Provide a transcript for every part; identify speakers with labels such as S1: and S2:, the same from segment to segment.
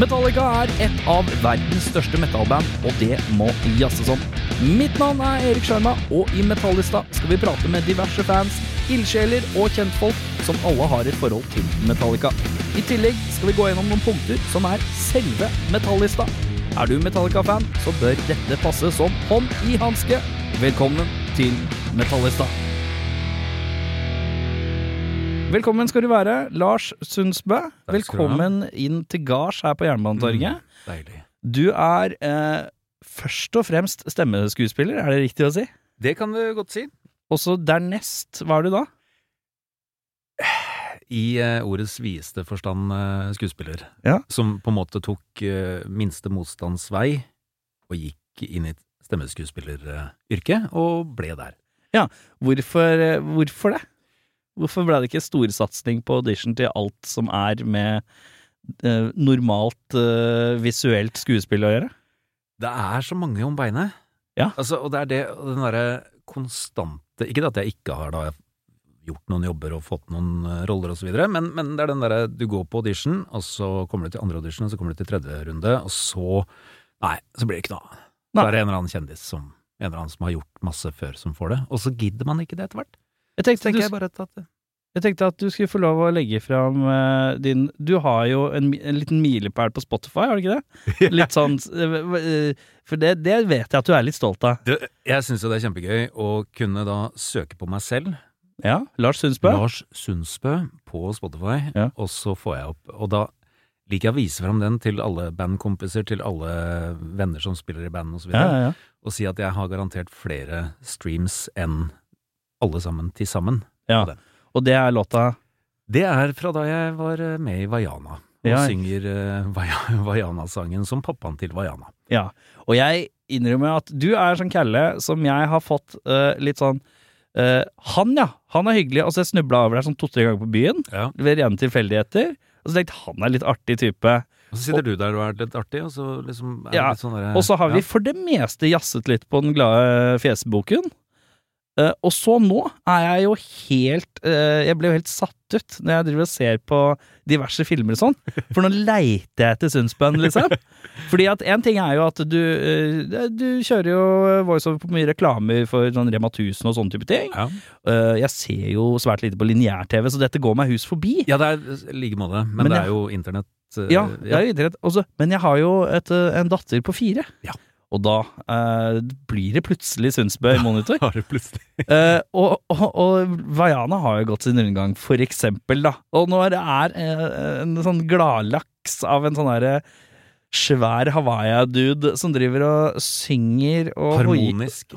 S1: Metallica er et av verdens største metallband, og det må jazzes om. Mitt navn er Erik Sjarma, og i Metallista skal vi prate med diverse fans, ildsjeler og kjentfolk som alle har et forhold til Metallica. I tillegg skal vi gå gjennom noen punkter som er selve Metallista. Er du Metallica-fan, så bør dette passe som hånd i hanske. Velkommen til Metallista. Velkommen skal du være, Lars Sundsbø.
S2: skal du ha. Mm,
S1: Velkommen inn til gards her på Jernbanetorget.
S2: Deilig.
S1: Du er eh, først og fremst stemmeskuespiller, er det riktig å si?
S2: Det kan du godt si.
S1: Og så dernest, hva er du da?
S2: I eh, ordets videste forstand eh, skuespiller.
S1: Ja.
S2: Som på en måte tok eh, minste motstands vei, og gikk inn i stemmeskuespilleryrket, og ble der.
S1: Hvorfor, eh, hvorfor det? Hvorfor ble det ikke storsatsing på audition til alt som er med eh, normalt eh, visuelt skuespill å gjøre?
S2: Det er så mange om beinet.
S1: Ja.
S2: Altså, og det er det, og den derre konstante Ikke det at jeg ikke har da gjort noen jobber og fått noen eh, roller og så videre, men, men det er den derre du går på audition, og så kommer du til andre audition, og så kommer du til tredje runde, og så Nei, så blir det ikke noe av. Så
S1: Nei.
S2: er det en eller annen kjendis som en eller annen som har gjort masse før, som får det. Og så gidder man ikke det etter hvert.
S1: Jeg tenkte,
S2: Tenker
S1: du,
S2: jeg bare at at-
S1: jeg tenkte at du skulle få lov å legge fram eh, din Du har jo en, mi- en liten milepæl på Spotify, har du ikke det? Litt sånn eh, eh, For det, det vet jeg at du er litt stolt av.
S2: det, Jeg syns jo det er kjempegøy å kunne da søke på meg selv,
S1: Ja, Lars Sundsbø.
S2: Lars Sundsbø på Spotify,
S1: Ja.
S2: og så får jeg opp Og da liker jeg å vise fram den til alle bandkompiser, til alle venner som spiller i band osv.,
S1: Ja,
S2: videre
S1: ja, ja.
S2: og si at jeg har garantert flere streams enn alle sammen til sammen.
S1: Ja. Og det er låta
S2: Det er fra da jeg var eh, med i Vaiana, og
S1: Ja.
S2: synger eh, Vai- Vaiana-sangen som pappaen til Vaiana.
S1: Ja. Og jeg innrømmer at du er sånn kalle som jeg har fått eh, litt sånn eh, Han, ja. Han er hyggelig. Og så jeg snubla over deg sånn to-tre ganger på byen
S2: Ja.
S1: ved rene tilfeldigheter. Og så tenkte jeg, han er litt artig type.
S2: Og så sitter du der og er litt artig, og så liksom er det
S1: Ja,
S2: litt sånn derre
S1: Og så har vi
S2: ja.
S1: for det meste jazzet litt på den glade fjesboken. Eh, og så nå er jeg jo helt eh, Jeg ble jo helt satt ut når jeg driver og ser på diverse filmer og sånn. For nå leiter jeg etter Sundsbøen, liksom. Fordi at én ting er jo at du eh, Du kjører jo voiceover på mye reklamer for sånn Rema 1000 og sånne type ting.
S2: ja.
S1: Eh, jeg ser jo svært lite på lineær-TV, så dette går meg hus forbi.
S2: ja, det er i like måte, men,
S1: Men
S2: det
S1: jeg-
S2: er jo internett. eh,
S1: Ja, det er jo idrett også. Men jeg har jo et, eh, en datter på fire.
S2: Ja.
S1: Og da eh, blir det plutselig Sundsbø i monitor.
S2: Har du plutselig
S1: Eh, og, og, og Vaiana har jo gått sin rundgang, for eksempel. Da. Og når det er eh, en sånn gladlaks av en sånn derre svær Hawaii-dude som driver og synger og
S2: harmonisk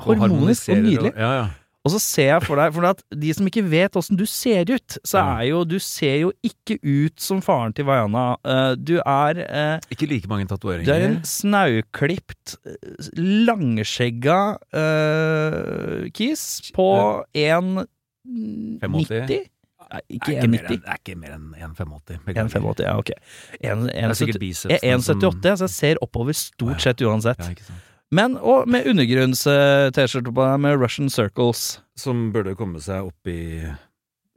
S1: og harmonisk og
S2: harmoniserer
S1: nydelig.
S2: ja, ja.
S1: Og så ser jeg for deg, for at de som ikke vet åssen du ser ut, så
S2: Ja.
S1: er jo Du ser jo ikke ut som faren til Vaiana. Eh, du er eh,
S2: Ikke like mange tatoveringer.
S1: Du er en snauklipt, eh, langskjegga eh, kis på 1,90? Nei,
S2: Det
S1: ikke
S2: er ikke mer enn-
S1: 1,90.
S2: det er ikke mer enn 1,85.
S1: 1,85, ja, ok. En-
S2: Det
S1: en-
S2: er sikkert
S1: sytti-
S2: biceps.
S1: jeg er 1,78, så jeg ser oppover stort sett uansett.
S2: Ja, ikke sant.
S1: Men og med undergrunns-T-skjorte på deg med Russian circles.
S2: Som burde komme seg opp i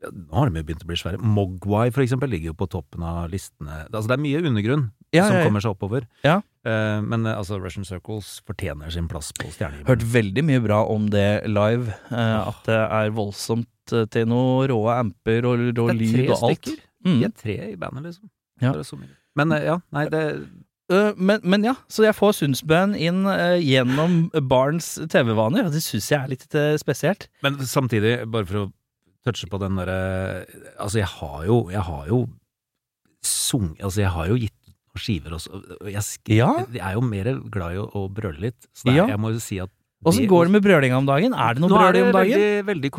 S2: ja, Nå har de jo begynt å bli svære. Mogwai, for eksempel, ligger jo på toppen av listene. Altså, det er mye undergrunn
S1: Ja,
S2: som
S1: ja, ja.
S2: kommer seg oppover.
S1: Ja.
S2: Eh, men eh, altså, Russian Circles fortjener sin plass på stjernehimmelen.
S1: Hørt veldig mye bra om det live. eh, at det er voldsomt eh, til noe rå amper og rå
S2: Det er tre
S1: lyd og alt.
S2: stykker.
S1: Mm.
S2: Vi er tre i bandet, liksom.
S1: Ja.
S2: Det er så mye. Men eh, ja, nei, det
S1: Øh, men, men ja, så jeg får Sundsbøen inn øh, gjennom barns TV-vaner, og det syns jeg er litt øh, spesielt.
S2: Men samtidig, bare for å touche på den derre Altså, jeg har jo Jeg har jo sung... Altså, jeg har jo gitt ut noen skiver også. og Jeg, sk
S1: Ja.
S2: jeg er jo mer glad i å, å brøle litt, så det er,
S1: Ja.
S2: jeg må jo si at
S1: Åssen går det med brølinga om dagen? Er det noe
S2: Nå er det
S1: brøling om dagen?
S2: veldig, veldig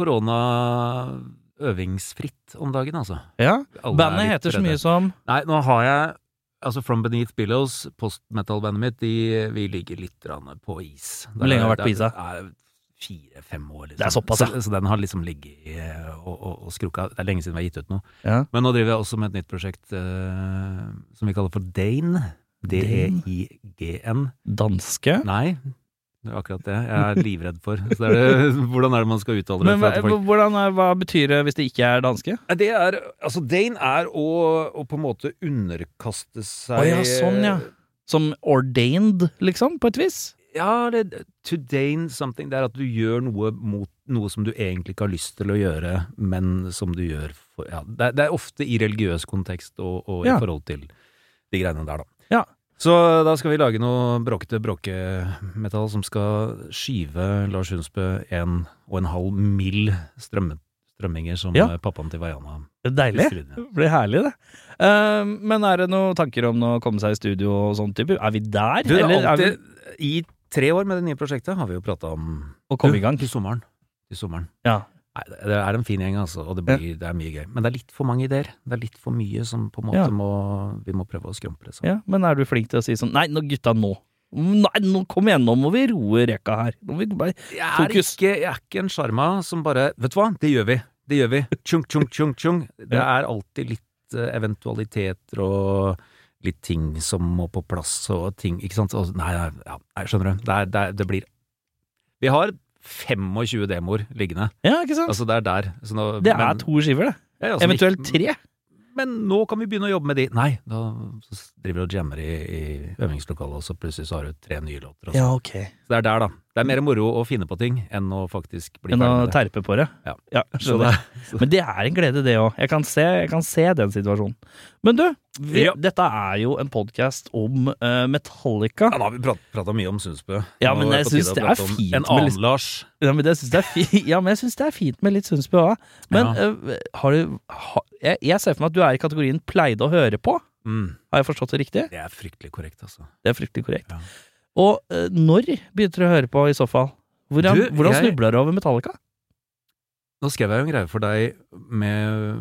S2: koronaøvingsfritt om dagen, altså.
S1: Ja.
S2: Alle er
S1: Bandet
S2: litt
S1: heter så
S2: redde.
S1: mye som
S2: Nei, nå har jeg Altså From Beneath Billows, postmetal-bandet mitt, de, vi ligger litt grann på is.
S1: Hvor lenge har det vært på is, da?
S2: Det er fire-fem år. Liksom.
S1: Det er såpass, ja.
S2: så, så den har liksom ligget i, eh, og, og, og skrukka. Det er lenge siden vi har gitt ut noe.
S1: Ja.
S2: Men nå driver jeg også med et nytt prosjekt eh, som vi kaller for Dane. E D-e-i-g-n.
S1: Danske.
S2: Nei, det er akkurat det jeg er livredd for. Så det er det, hvordan er det man skal uttale det?
S1: Men
S2: for
S1: hva,
S2: at folk-
S1: hvordan er, hva betyr det hvis det ikke er danske?
S2: Nei, Det er, altså Dane er å, å på en måte underkaste seg
S1: Å ja, sånn ja. Som ordained, liksom, på et vis?
S2: Ja, det, to dane something, det er at du gjør noe mot noe som du egentlig ikke har lyst til å gjøre, men som du gjør for ja, det, er- det er ofte i religiøs kontekst og, og
S1: Ja.
S2: i forhold til de greiene der, da.
S1: Ja.
S2: Så da skal vi lage noe bråkete bråkemetall som skal skyve Lars Hundsbø en og en halv mill strømme, strømminger som
S1: Ja.
S2: eh, pappaen til Vaiana
S1: Det er Deilig.
S2: puster inn i.
S1: Det blir herlig, det. Eh, men er det noen tanker om å komme seg i studio og sånn type? Er vi der?
S2: Du, det er
S1: eller er vi
S2: alltid, I tre år med det nye prosjektet har vi jo prata om
S1: å komme i gang?
S2: Til sommeren. Til sommeren.
S1: Ja.
S2: Nei, det- det er en fin gjeng, altså, og det, blir, det er mye gøy. Men det er litt for mange ideer. Det er litt for mye som på en måte
S1: Ja.
S2: må Vi må prøve å skrumpre. Så.
S1: Ja, men er du flink til å si sånn Nei, nå gutta, nå. Nei, nå kom igjen, nå må vi roe rekka her. Nå må vi bare
S2: Jeg, er
S1: Fokus.
S2: ikke, jeg er ikke en sjarma som bare Vet du hva, det gjør vi! Det gjør vi! Tjung, tjung, tjung, tjung. Det er alltid litt eh, eventualiteter og litt ting som må på plass og ting Ikke sant? Og, nei, nei, ja, nei, skjønner du. Det, er, det, er, det blir Vi har 25 demoer liggende.
S1: Ja, ikke sant?
S2: Altså, det er der. Så nå-
S1: det er
S2: men- Altså,
S1: to skiver, det.
S2: Ja, ja, som
S1: Eventuelt
S2: ikke-
S1: tre.
S2: men nå kan vi begynne å jobbe med de. Nei, da så driver du og jammer i, i øvingslokalet, og så plutselig så har du tre nye låter. Og sånn.
S1: ok.
S2: Så det er der, da. Det er mer moro å finne på ting enn å faktisk bli
S1: Enn å
S2: ferdig med det.
S1: terpe på det.
S2: Ja. Så
S1: skjønner. Men det er en glede, det òg. Jeg, kan se- jeg kan se den situasjonen. Men du, vi,
S2: Ja.
S1: dette er jo en podkast om eh, Metallica.
S2: Ja, da har vi prat, prata mye om Sundsbø.
S1: Ja,
S2: Nå
S1: men
S2: er
S1: jeg
S2: på tide
S1: synes
S2: å
S1: det er
S2: prate om
S1: fint
S2: En
S1: med
S2: annen
S1: liksom-
S2: Lars.
S1: Ja, men, det synes det er fi- ja, men jeg syns det er fint med litt Sundsbø òg. Men eh, har du ha, jeg, jeg ser for meg at du er i kategorien 'pleide å høre på'.
S2: Mm,
S1: Har jeg forstått det riktig?
S2: det er fryktelig korrekt, altså.
S1: Det er fryktelig korrekt.
S2: Ja.
S1: Og eh, når begynte du å høre på, i så fall? Hvordan,
S2: Du,
S1: hvordan
S2: jeg-
S1: snubla du over Metallica?
S2: Nå skrev jeg jo en greie for deg med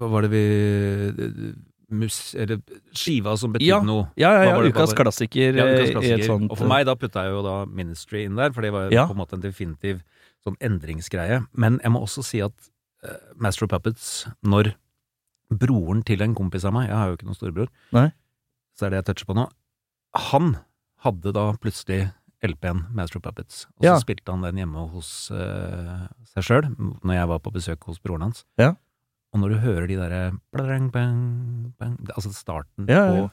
S2: Hva var det vi Mus... Eller skiva som betydde
S1: Ja.
S2: noe.
S1: Ja, ja,
S2: Hva
S1: ja,
S2: var det- hva
S1: ukas
S2: var-
S1: klassiker
S2: Ja,
S1: eh,
S2: ukas
S1: i et
S2: klassiker.
S1: sånt
S2: Og for meg da putta jeg jo da Ministry inn der, for det var jo
S1: Ja.
S2: på en måte en definitiv sånn endringsgreie. Men jeg må også si at eh, Master of Puppets, når broren til en kompis av meg, jeg har jo ikke noen storebror,
S1: Nei.
S2: så er det jeg toucher på nå, han hadde da plutselig LP-en Master of Puppets, og så
S1: Ja.
S2: spilte han den hjemme hos eh, seg sjøl, når jeg var på besøk hos broren hans.
S1: Ja.
S2: Og når du hører de derre bladreng, bang, bang, det- Altså starten
S1: Ja, ja, ja.
S2: på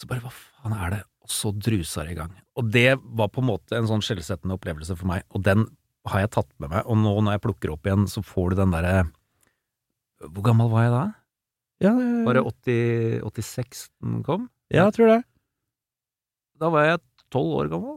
S2: så bare hva faen er det? Og så drusa det i gang. Og det var på en måte en sånn skjellsettende opplevelse for meg, og den har jeg tatt med meg. Og nå når jeg plukker opp igjen, så får du den derre Hvor gammel var jeg da?
S1: ja,
S2: Var det 80, 86 den kom?
S1: ja, jeg tror det.
S2: Da var jeg tolv år gammel.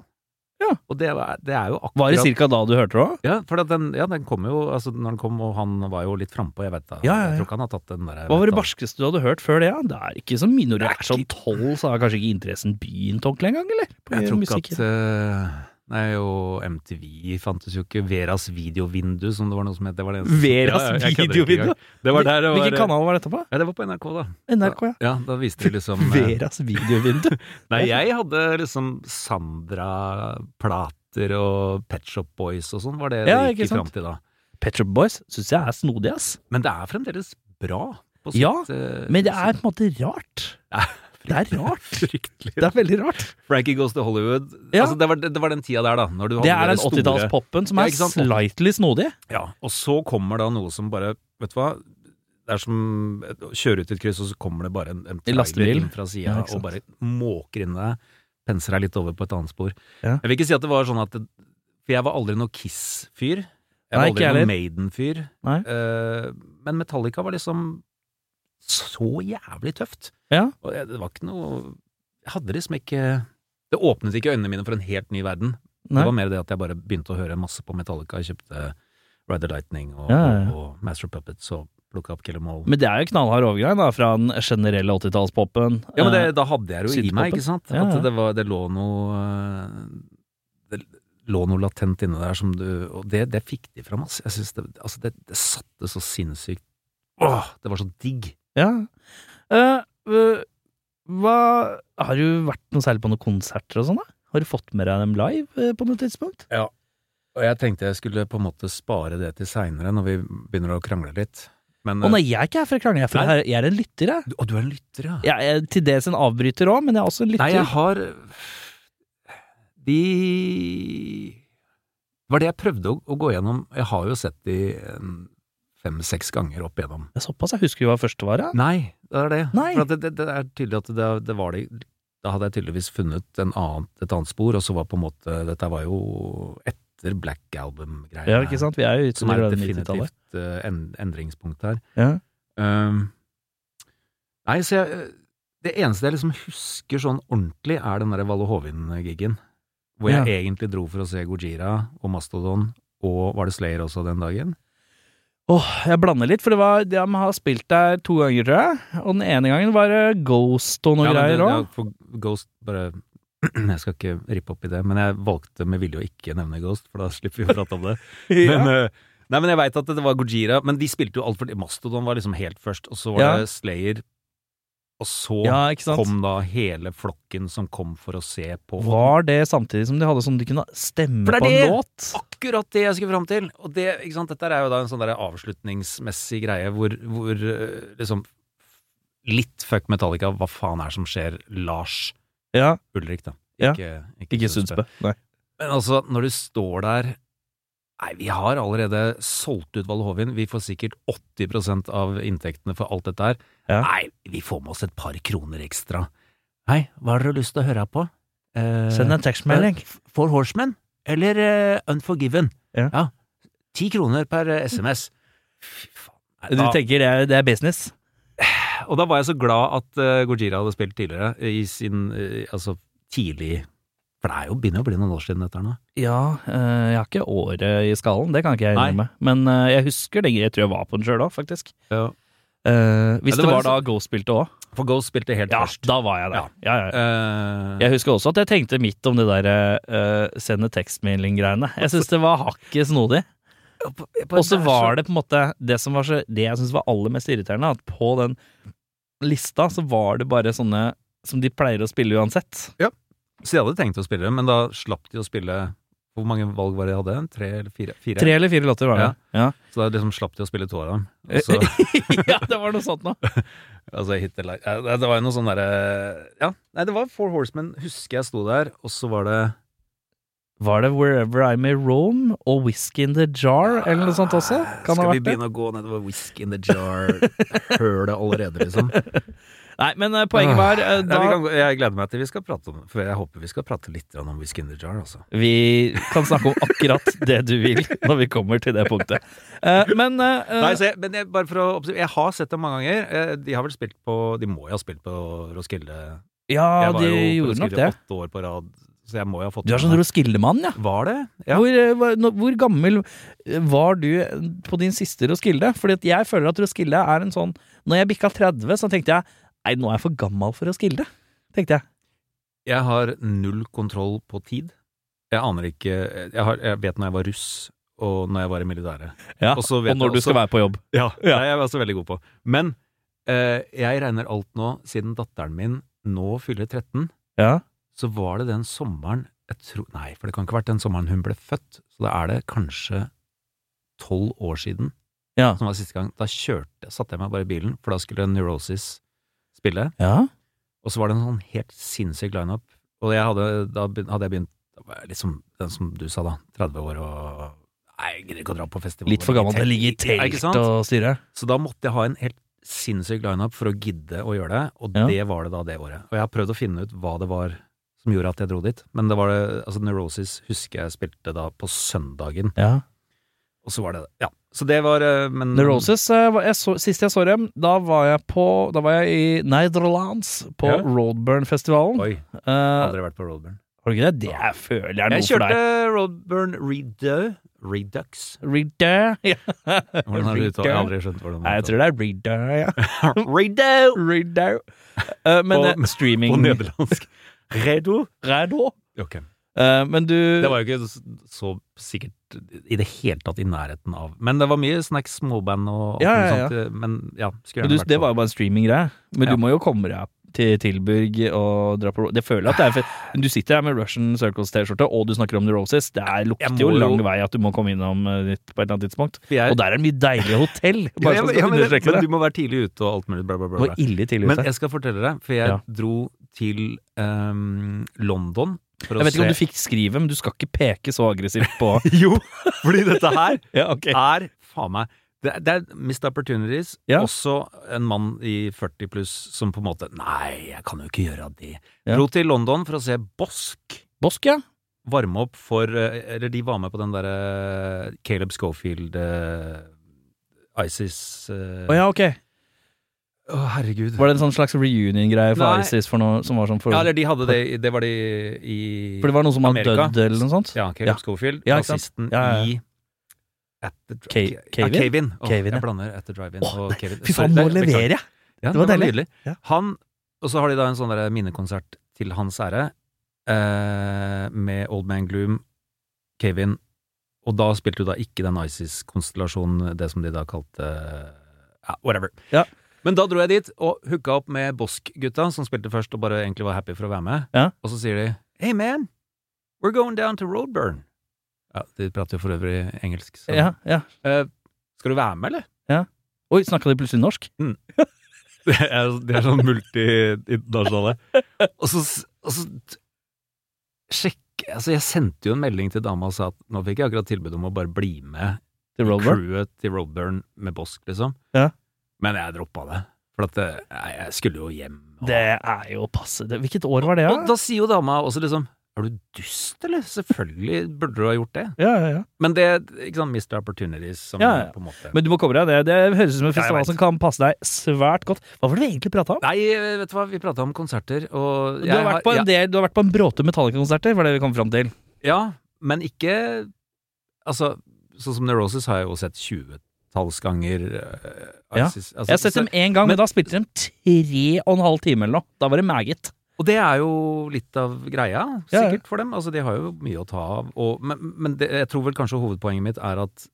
S1: Ja.
S2: Og det, er- det er jo akkurat
S1: Var det cirka da du hørte det òg?
S2: Ja, for at den, ja, den kom jo altså, Når den kom, og han var jo litt frampå, jeg vet da.
S1: Ja, ja,
S2: Jeg
S1: ja.
S2: tror ikke han har tatt den derre
S1: Hva var det
S2: vet da.
S1: barskeste du hadde hørt før det? Ja? Det er ikke så mye når du
S2: Det er
S1: er sånn tolv, så har kanskje ikke interessen begynt ordentlig engang, eller? På
S2: Jeg tror
S1: musikken.
S2: ikke at eh, Nei, og MTV fantes jo ikke. Veras videovindu, som det var noe som het. Det var det eneste-
S1: Veras
S2: Ja, jeg kødder ikke
S1: videovindu?
S2: engang. Det var der det var
S1: Hvilken kanal var dette på?
S2: Ja, det var på NRK, da.
S1: NRK, ja.
S2: Ja, da viste de liksom eh,
S1: Veras videovindu.
S2: Nei, jeg hadde liksom Sandra-plater og Pet Shop Boys og sånn, var det
S1: Ja,
S2: det
S1: ikke
S2: gikk i
S1: sant?
S2: fram til da.
S1: Pet Shop Boys syns jeg er snodig, ass.
S2: Men det er fremdeles bra. På sitt,
S1: Ja,
S2: eh,
S1: Men det er
S2: sitt-
S1: på en måte rart.
S2: Ja,
S1: Det er rart.
S2: Fryktelig.
S1: Det er veldig rart.
S2: Frankie Goes to Hollywood.
S1: Ja.
S2: Altså, det, var, det, var den tida der, da. Når du
S1: Det
S2: hadde
S1: er
S2: det
S1: den
S2: store-
S1: 80-tallspoppen som
S2: Ja,
S1: er
S2: ikke sant?
S1: slightly snodig.
S2: Ja, og så kommer da noe som bare Vet du hva? Det er som å kjøre ut i et kryss, og så kommer det bare en, en trailer
S1: lastebil.
S2: inn fra sida
S1: Ja, ikke sant.
S2: og bare måker inn i deg. Penser deg litt over på et annet spor.
S1: Ja.
S2: Jeg vil ikke si at det var sånn at det, For jeg var aldri noe Kiss-fyr. Jeg var
S1: Nei, ikke
S2: aldri
S1: heller.
S2: noen Maiden-fyr.
S1: Nei.
S2: Eh, men Metallica var liksom så jævlig tøft.
S1: Ja.
S2: Og jeg- det var ikke noe Jeg hadde liksom ikke Det åpnet ikke øynene mine for en helt ny verden.
S1: Nei.
S2: Det var mer det at jeg bare begynte å høre masse på Metallica. Jeg kjøpte Rider Lightning og,
S1: Ja, ja, ja.
S2: og, og Master of Puppets og plukka opp Kill Em All.
S1: Men det er jo knallhard overgang da, fra den generelle 80-tallspopen.
S2: ja, men det, da hadde jeg det jo i
S1: Synthpopen.
S2: meg, ikke sant?
S1: eh, Ja, ja.
S2: At det, var, det lå noe eh, Det lå noe latent inne der som du Og det, det fikk de fram, ass. Jeg synes det, altså det, det satte så sinnssykt Åh, det var så digg.
S1: Eh, ja. Eh, eh, hva Har du vært noe særlig på noen konserter og sånn, da? Har du fått med deg dem live eh, på noe tidspunkt?
S2: Og jeg tenkte jeg skulle på en måte spare det til seinere, når vi begynner å krangle litt. Men,
S1: Å nei, jeg er ikke her for å krangle, jeg er, for-
S2: Nei.
S1: jeg er en lytter, jeg.
S2: eh, du- Å, du er en lytter, ja?
S1: Jeg er til dels en avbryter òg, men jeg er også en lytter.
S2: Nei, jeg har De Det var det jeg prøvde å, å gå gjennom. Jeg har jo sett de en fem-seks ganger opp igjennom.
S1: Det er Såpass, jeg husker jo hva første var. ja.
S2: Nei, det er det.
S1: Nei.
S2: For at det, det, det er tydelig at det, det var det Da hadde jeg tydeligvis funnet en annen, et annet spor, og så var på en måte Dette var jo etter Black Album-greiene.
S1: Ja, ikke sant? Vi er jo ute
S2: Som er et
S1: i
S2: definitivt
S1: 90-tallet.
S2: eh, en, endringspunkt her.
S1: Ja.
S2: Um, nei, så jeg Det eneste jeg liksom husker sånn ordentlig, er den derre Valle Hovin-giggen. Hvor jeg egentlig dro for å se Gojira og Mastodon, og var det Slayer også den dagen?
S1: Åh, jeg blander litt, for det var, de har spilt der to ganger, tror jeg. Og den ene gangen var det Ghost og noe
S2: Ja, men
S1: greier
S2: det-
S1: òg.
S2: ja, for Ghost bare Jeg skal ikke rippe opp i det, men jeg valgte med vilje å ikke nevne Ghost, for da slipper vi å prate om det. Men, eh, nei, men jeg veit at det var Gojira, men de spilte jo altfor Mastodon var liksom helt først, og så var
S1: Ja.
S2: det Slayer, og så
S1: Ja, ikke sant?
S2: kom da hele flokken som kom for å se på
S1: Var det samtidig som de hadde sånn de kunne stemme
S2: For det er
S1: på en
S2: det!
S1: låt?
S2: Akkurat det jeg skulle fram til! Og det, ikke sant? Dette er jo da en sånn der avslutningsmessig greie hvor, hvor eh, liksom Litt fuck Metallica, hva faen er det som skjer? Lars
S1: Ja,
S2: Ulrik, da.
S1: Ja.
S2: ikke,
S1: ikke Sundsbø. Nei.
S2: Men altså, når du står der Nei, vi har allerede solgt ut Valle Hovin. Vi får sikkert 80 av inntektene for alt dette her.
S1: Ja.
S2: Nei, vi får med oss et par kroner ekstra. Hei, hva har dere lyst til å høre på? Eh,
S1: Send en tekstmelding.
S2: For Horsemen eller eh, Unforgiven?
S1: Ja.
S2: Ti kroner per eh, SMS. Fy faen. Nei,
S1: Eh, Du
S2: da-
S1: tenker det er, det er business?
S2: Eh, og da var jeg så glad at eh, Gojira hadde spilt tidligere, i sin eh, altså tidlig For det er jo begynner å bli noen år siden dette her nå.
S1: Ja, eh, jeg har ikke året i skallen, det kan ikke jeg
S2: Nei.
S1: innrømme. Men eh, jeg husker det, jeg tror jeg var på den sjøl òg, faktisk. Eh, hvis
S2: Ja, det
S1: det,
S2: var
S1: var,
S2: liksom-
S1: da Ghost spilte òg.
S2: For Ghost spilte helt
S1: Ja,
S2: først.
S1: da var jeg der. Ja, ja, ja.
S2: Eh,
S1: Jeg husker også at jeg tenkte midt om det der eh, sende tekstmelding-greiene. Jeg syns det var hakket snodig. Og så var det på en måte det som var så Det jeg syns var aller mest irriterende, at på den lista så var det bare sånne som de pleier å spille uansett.
S2: Så de hadde tenkt å spille, men da slapp de å spille Hvor mange valg var det de hadde? Tre eller fire? fire.
S1: Tre eller fire låter var det. Ja,
S2: Så da liksom slapp de å spille to av dem. Og så-
S1: ja. det var noe sånt nå
S2: altså, hit the light. Eh, Det var jo noe sånn derre Ja, nei, det var Four Horsemen, husker jeg sto der, og så var det
S1: Var det Wherever I May Roam og Whisky in the Jar eller noe sånt også? Kan det
S2: Ah, Skal
S1: ha vært
S2: vi
S1: det?
S2: begynne å gå nedover whisky in the jar-hølet allerede, liksom?
S1: Nei, men eh, poenget var eh,
S2: Nei,
S1: da
S2: vi kan, gå- jeg gleder meg til vi skal prate om det, for jeg håper vi skal prate litt grann om whisky in the jar, altså.
S1: Vi kan snakke om akkurat det du vil når vi kommer til det punktet. Eh, men eh, eh,
S2: Nei, så jeg, men jeg, bare for å observere, jeg har sett dem mange ganger. Eh, De har vel spilt på De må jo ha spilt på Roskilde.
S1: Ja,
S2: jeg var
S1: de
S2: jo på
S1: gjorde nok
S2: Roskilde
S1: det.
S2: åtte år på rad, så jeg må jo ha fått
S1: Du er
S2: med
S1: sånn
S2: meg-
S1: Roskilde-mann, ja.
S2: Var det? Ja.
S1: Hvor, eh, hva- nå- hvor gammel eh, var du på din siste Roskilde? Fordi at jeg føler at Roskilde er en sånn Når jeg bikka 30, så tenkte jeg Nei, nå er jeg for gammel for Roskilde. Tenkte jeg.
S2: Jeg har null kontroll på tid. Jeg aner ikke Jeg, har, jeg vet når jeg var russ, og når jeg var i militæret.
S1: Ja,
S2: Og så vet jeg også-
S1: være på jobb.
S2: Ja, Jeg er jeg også veldig god på. Men eh, jeg regner alt nå, siden datteren min nå fyller 13,
S1: Ja.
S2: så var det den sommeren jeg tror, Nei, for det kan ikke ha vært den sommeren hun ble født. Så da er det kanskje tolv år siden
S1: Ja.
S2: som var siste gang. Da kjørte, satte jeg meg bare i bilen, for da skulle Neurosis spille.
S1: ja.
S2: Og så var det en sånn helt sinnssyk lineup. Og jeg hadde, da begyn- hadde jeg begynt da var jeg liksom den som du sa, da. 30 år og Nei, jeg gidder ikke å dra på festival.
S1: Litt for gammel til å ligge i
S2: Ja, ikke
S1: telt
S2: sant?
S1: og styre.
S2: Så da måtte jeg ha en helt sinnssyk lineup for å gidde å gjøre det, og
S1: Ja.
S2: det var det da det året. Og jeg har prøvd å finne ut hva det var som gjorde at jeg dro dit, men det var det, altså Neurosis husker jeg spilte da på søndagen,
S1: Ja.
S2: og så var det det. Ja, så det var eh, men,
S1: Neurosis, eh, var- jeg så, sist jeg så dem, da var jeg på Da var jeg i Nederlands, på
S2: Ja.
S1: Roadburn-festivalen.
S2: Oi,
S1: Eh, har
S2: aldri vært på Roadburn.
S1: du ikke det? Det er, føler jeg er noe
S2: Jeg
S1: for
S2: kjørte
S1: deg.
S2: Roadburn Redo, Redux.
S1: Reader. Ja.
S2: Hvordan har du uttalt? Jeg har aldri skjønt hvordan
S1: Nei, jeg tror det er Reader, ja.
S2: tror Redo!
S1: Reader. Eh, men
S2: På-
S1: eh, streaming
S2: På nederlandsk. Redo.
S1: Redo.
S2: Ok.
S1: Eh, men du
S2: Det var jo ikke så- så sikkert i det hele tatt i nærheten av Men det var mye snacks, småband og alt
S1: Ja,
S2: mulig
S1: ja, ja.
S2: sånt. eh, Men ja, skulle
S1: men du,
S2: gjerne vært
S1: det
S2: på.
S1: var jo bare en streaminggreie. Men
S2: Ja.
S1: du må jo komme deg til Tilburg og drar på Det føler jeg at det er for, Men du sitter her med Russian Circles-T-skjorte, og du snakker om The Roses. Det er,
S2: Jeg
S1: lukter
S2: må
S1: jo lang
S2: jo-
S1: vei at du må komme innom eh, dit på et eller annet tidspunkt.
S2: Vi er-
S1: Og der er det mye deilige hotell!
S2: Ja,
S1: Bare
S2: ja,
S1: for
S2: men, ja,
S1: å
S2: men, det-
S1: understreke
S2: men
S1: det.
S2: du må være tidlig ute og alt mulig bla, bla, bla.
S1: Du må
S2: bla.
S1: ille tidlig
S2: Men
S1: ute. Jeg,
S2: jeg skal fortelle deg, for jeg
S1: Ja.
S2: dro til ehm, London for
S1: vet ikke om du
S2: se
S1: fikk skrivet, men du skal ikke peke så aggressivt på
S2: Jo, fordi dette her
S1: Ja, ok.
S2: er faen meg det er, det er missed opportunities.
S1: Ja.
S2: Også en mann i 40 pluss som på en måte Nei, jeg kan jo ikke gjøre det.
S1: Ja.
S2: Dro til London for å se Bosk
S1: Bosk, ja.
S2: varme opp for eh, Eller de var med på den derre Caleb Schofield eh, ISIS eh,
S1: Å ja, ok.
S2: Å, herregud.
S1: Var det en sånn slags reunion-greie for
S2: Nei.
S1: ISIS for noe som var sånn for
S2: Ja, eller de hadde det i- Det var de i
S1: For det var noen som hadde
S2: Amerika.
S1: dødd eller noe sånt?
S2: Ja, Caleb
S1: Ja.
S2: Schofield.
S1: Ja, ikke sant?
S2: nazisten
S1: Ja, ja, ja.
S2: i At the
S1: Ca-
S2: Ja,
S1: Cave-In?
S2: Cave-In. Åh,
S1: Cave-In, ja.
S2: Jeg blander At the Drive-In
S1: Åh,
S2: og Cave-In.
S1: Fy
S2: Sorry,
S1: faen, nå
S2: det- beklager.
S1: leverer jeg!
S2: Ja,
S1: Det var deilig.
S2: nydelig.
S1: Ja.
S2: Han, og så har de da en sånn der minnekonsert til hans ære, eh, med Old Man Gloom, Kevin, og da spilte du da ikke den ISIS-konstellasjonen, det som de da kalte ja, whatever.
S1: Ja.
S2: Men da dro jeg dit og hooka opp med Bosk-gutta, som spilte først og bare egentlig var happy for å være med.
S1: Ja.
S2: Og så sier de Hey man, we're going down to Roadburn. Ja, de prater jo for øvrig engelsk. Så.
S1: Ja, ja.
S2: Eh, skal du være med, eller?
S1: Oi, snakka de plutselig norsk?
S2: Det er, det er sånn multi-internasjonale. Og så, og så t- sjekk Altså, jeg sendte jo en melding til dama og sa at nå fikk jeg akkurat tilbud om å bare bli med
S1: Til
S2: i
S1: Rover?
S2: crewet til Roadburn med Bosk, liksom.
S1: Ja.
S2: Men jeg droppa det. For at eh, nei, jeg skulle jo hjem. Og,
S1: Det er jo passe det- Hvilket år var det,
S2: og da sier jo dama også liksom Er du dust, eller? Selvfølgelig burde du ha gjort det.
S1: Ja, ja, ja.
S2: Men det ikke sant, Mr. Opportunities som
S1: Ja, ja.
S2: på en måte
S1: Men du må komme deg det. Det høres ut som en
S2: Ja, jeg
S1: festival
S2: vet.
S1: som kan passe deg svært godt. Hva var det vi egentlig prata om?
S2: Nei, vet du hva, vi prata om konserter, og
S1: Du har, vært på en del, du har vært på en bråte Metallica-konserter, var det vi kom fram til.
S2: Ja, men ikke Altså, sånn som Neurosis har jeg jo sett 20-talls ganger. eh,
S1: Ja,
S2: Axis- altså,
S1: Jeg har sett dem én gang, men
S2: men-
S1: da spilte de tre og en halv time eller noe. Da var det meget.
S2: Og det er jo litt av greia,
S1: Ja, ja.
S2: sikkert, for dem. Altså, de har jo mye å ta av. Og, men men det, jeg tror vel kanskje hovedpoenget mitt er at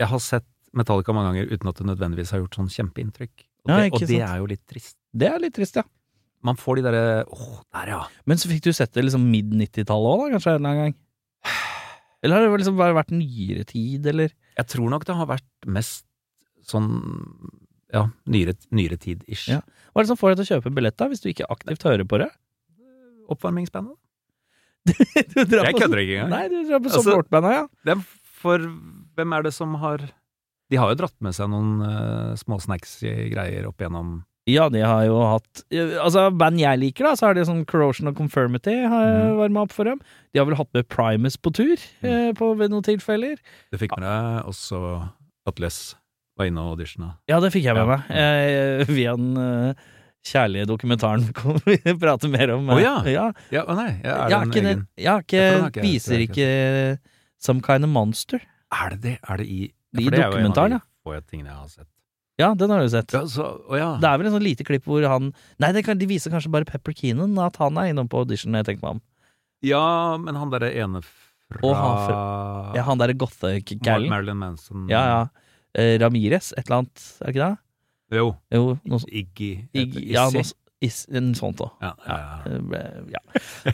S2: jeg har sett Metallica mange ganger uten at det nødvendigvis har gjort sånn kjempeinntrykk. Og,
S1: Ja,
S2: det,
S1: ikke
S2: og det
S1: sant.
S2: er jo litt trist.
S1: Det er litt trist, ja.
S2: Man får de derre åh, der ja.
S1: Men så fikk du sett det liksom mid-90-tallet òg, da, kanskje en eller annen gang? Eller har det liksom bare vært nyere tid, eller?
S2: Jeg tror nok det har vært mest sånn ja, nyere, nyere tid-ish.
S1: Ja. Hva er det som får deg til å kjøpe billett, da, hvis du ikke aktivt hører på det?
S2: Oppvarmingsbandet.
S1: Du drar
S2: Jeg
S1: på-
S2: kødder ikke engang.
S1: Nei, du drar på
S2: Altså-
S1: supportbanda, ja.
S2: Det er for hvem er det som har De har jo dratt med seg noen uh, småsnacks-greier opp igjennom
S1: Ja, de har jo hatt eh, Altså, band jeg liker, da, så er det sånn Corrosion og Confirmity har mm. varma opp for dem. De har vel hatt med Primus på tur eh, på, ved noen tilfeller.
S2: Du fikk med deg også at Les var inne og auditiona.
S1: Ja, det fikk jeg med
S2: Ja.
S1: meg. Eh, via den eh, kjærlige dokumentaren kan vi prate mer om. eh,
S2: Å ja.
S1: ja.
S2: Ja, å nei, ja, er
S1: Jeg
S2: det
S1: har
S2: en
S1: ikke,
S2: egen?
S1: jeg har ikke,
S2: Ja, for den har ikke jeg-
S1: Viser
S2: tror jeg
S1: ikke Some Kind of Monster.
S2: Er det det? Er det i
S1: I
S2: for det er jo en av
S1: dokumentaren,
S2: de
S1: ja.
S2: få tingene jeg har sett.
S1: Ja, den har du sett.
S2: Ja, så, å ja.
S1: Det er vel en sånn lite klipp hvor han Nei, det kan, de viser kanskje bare Pepper Keenan, at han er innom på audition, jeg tenker meg om.
S2: ja, men han derre ene fra,
S1: Å, han Ja, han derre
S2: Mar-
S1: gothe-gæren.
S2: Marilyn Manson
S1: Ja, ja. Eh, Ramirez, et eller annet, er det ikke det?
S2: Jo. Altså,
S1: Jo, noe sånt.
S2: Iggy. heter-
S1: Ja, noe
S2: Izzy.
S1: s- is, en sånt òg.
S2: ja, ja, ja.
S1: Ja.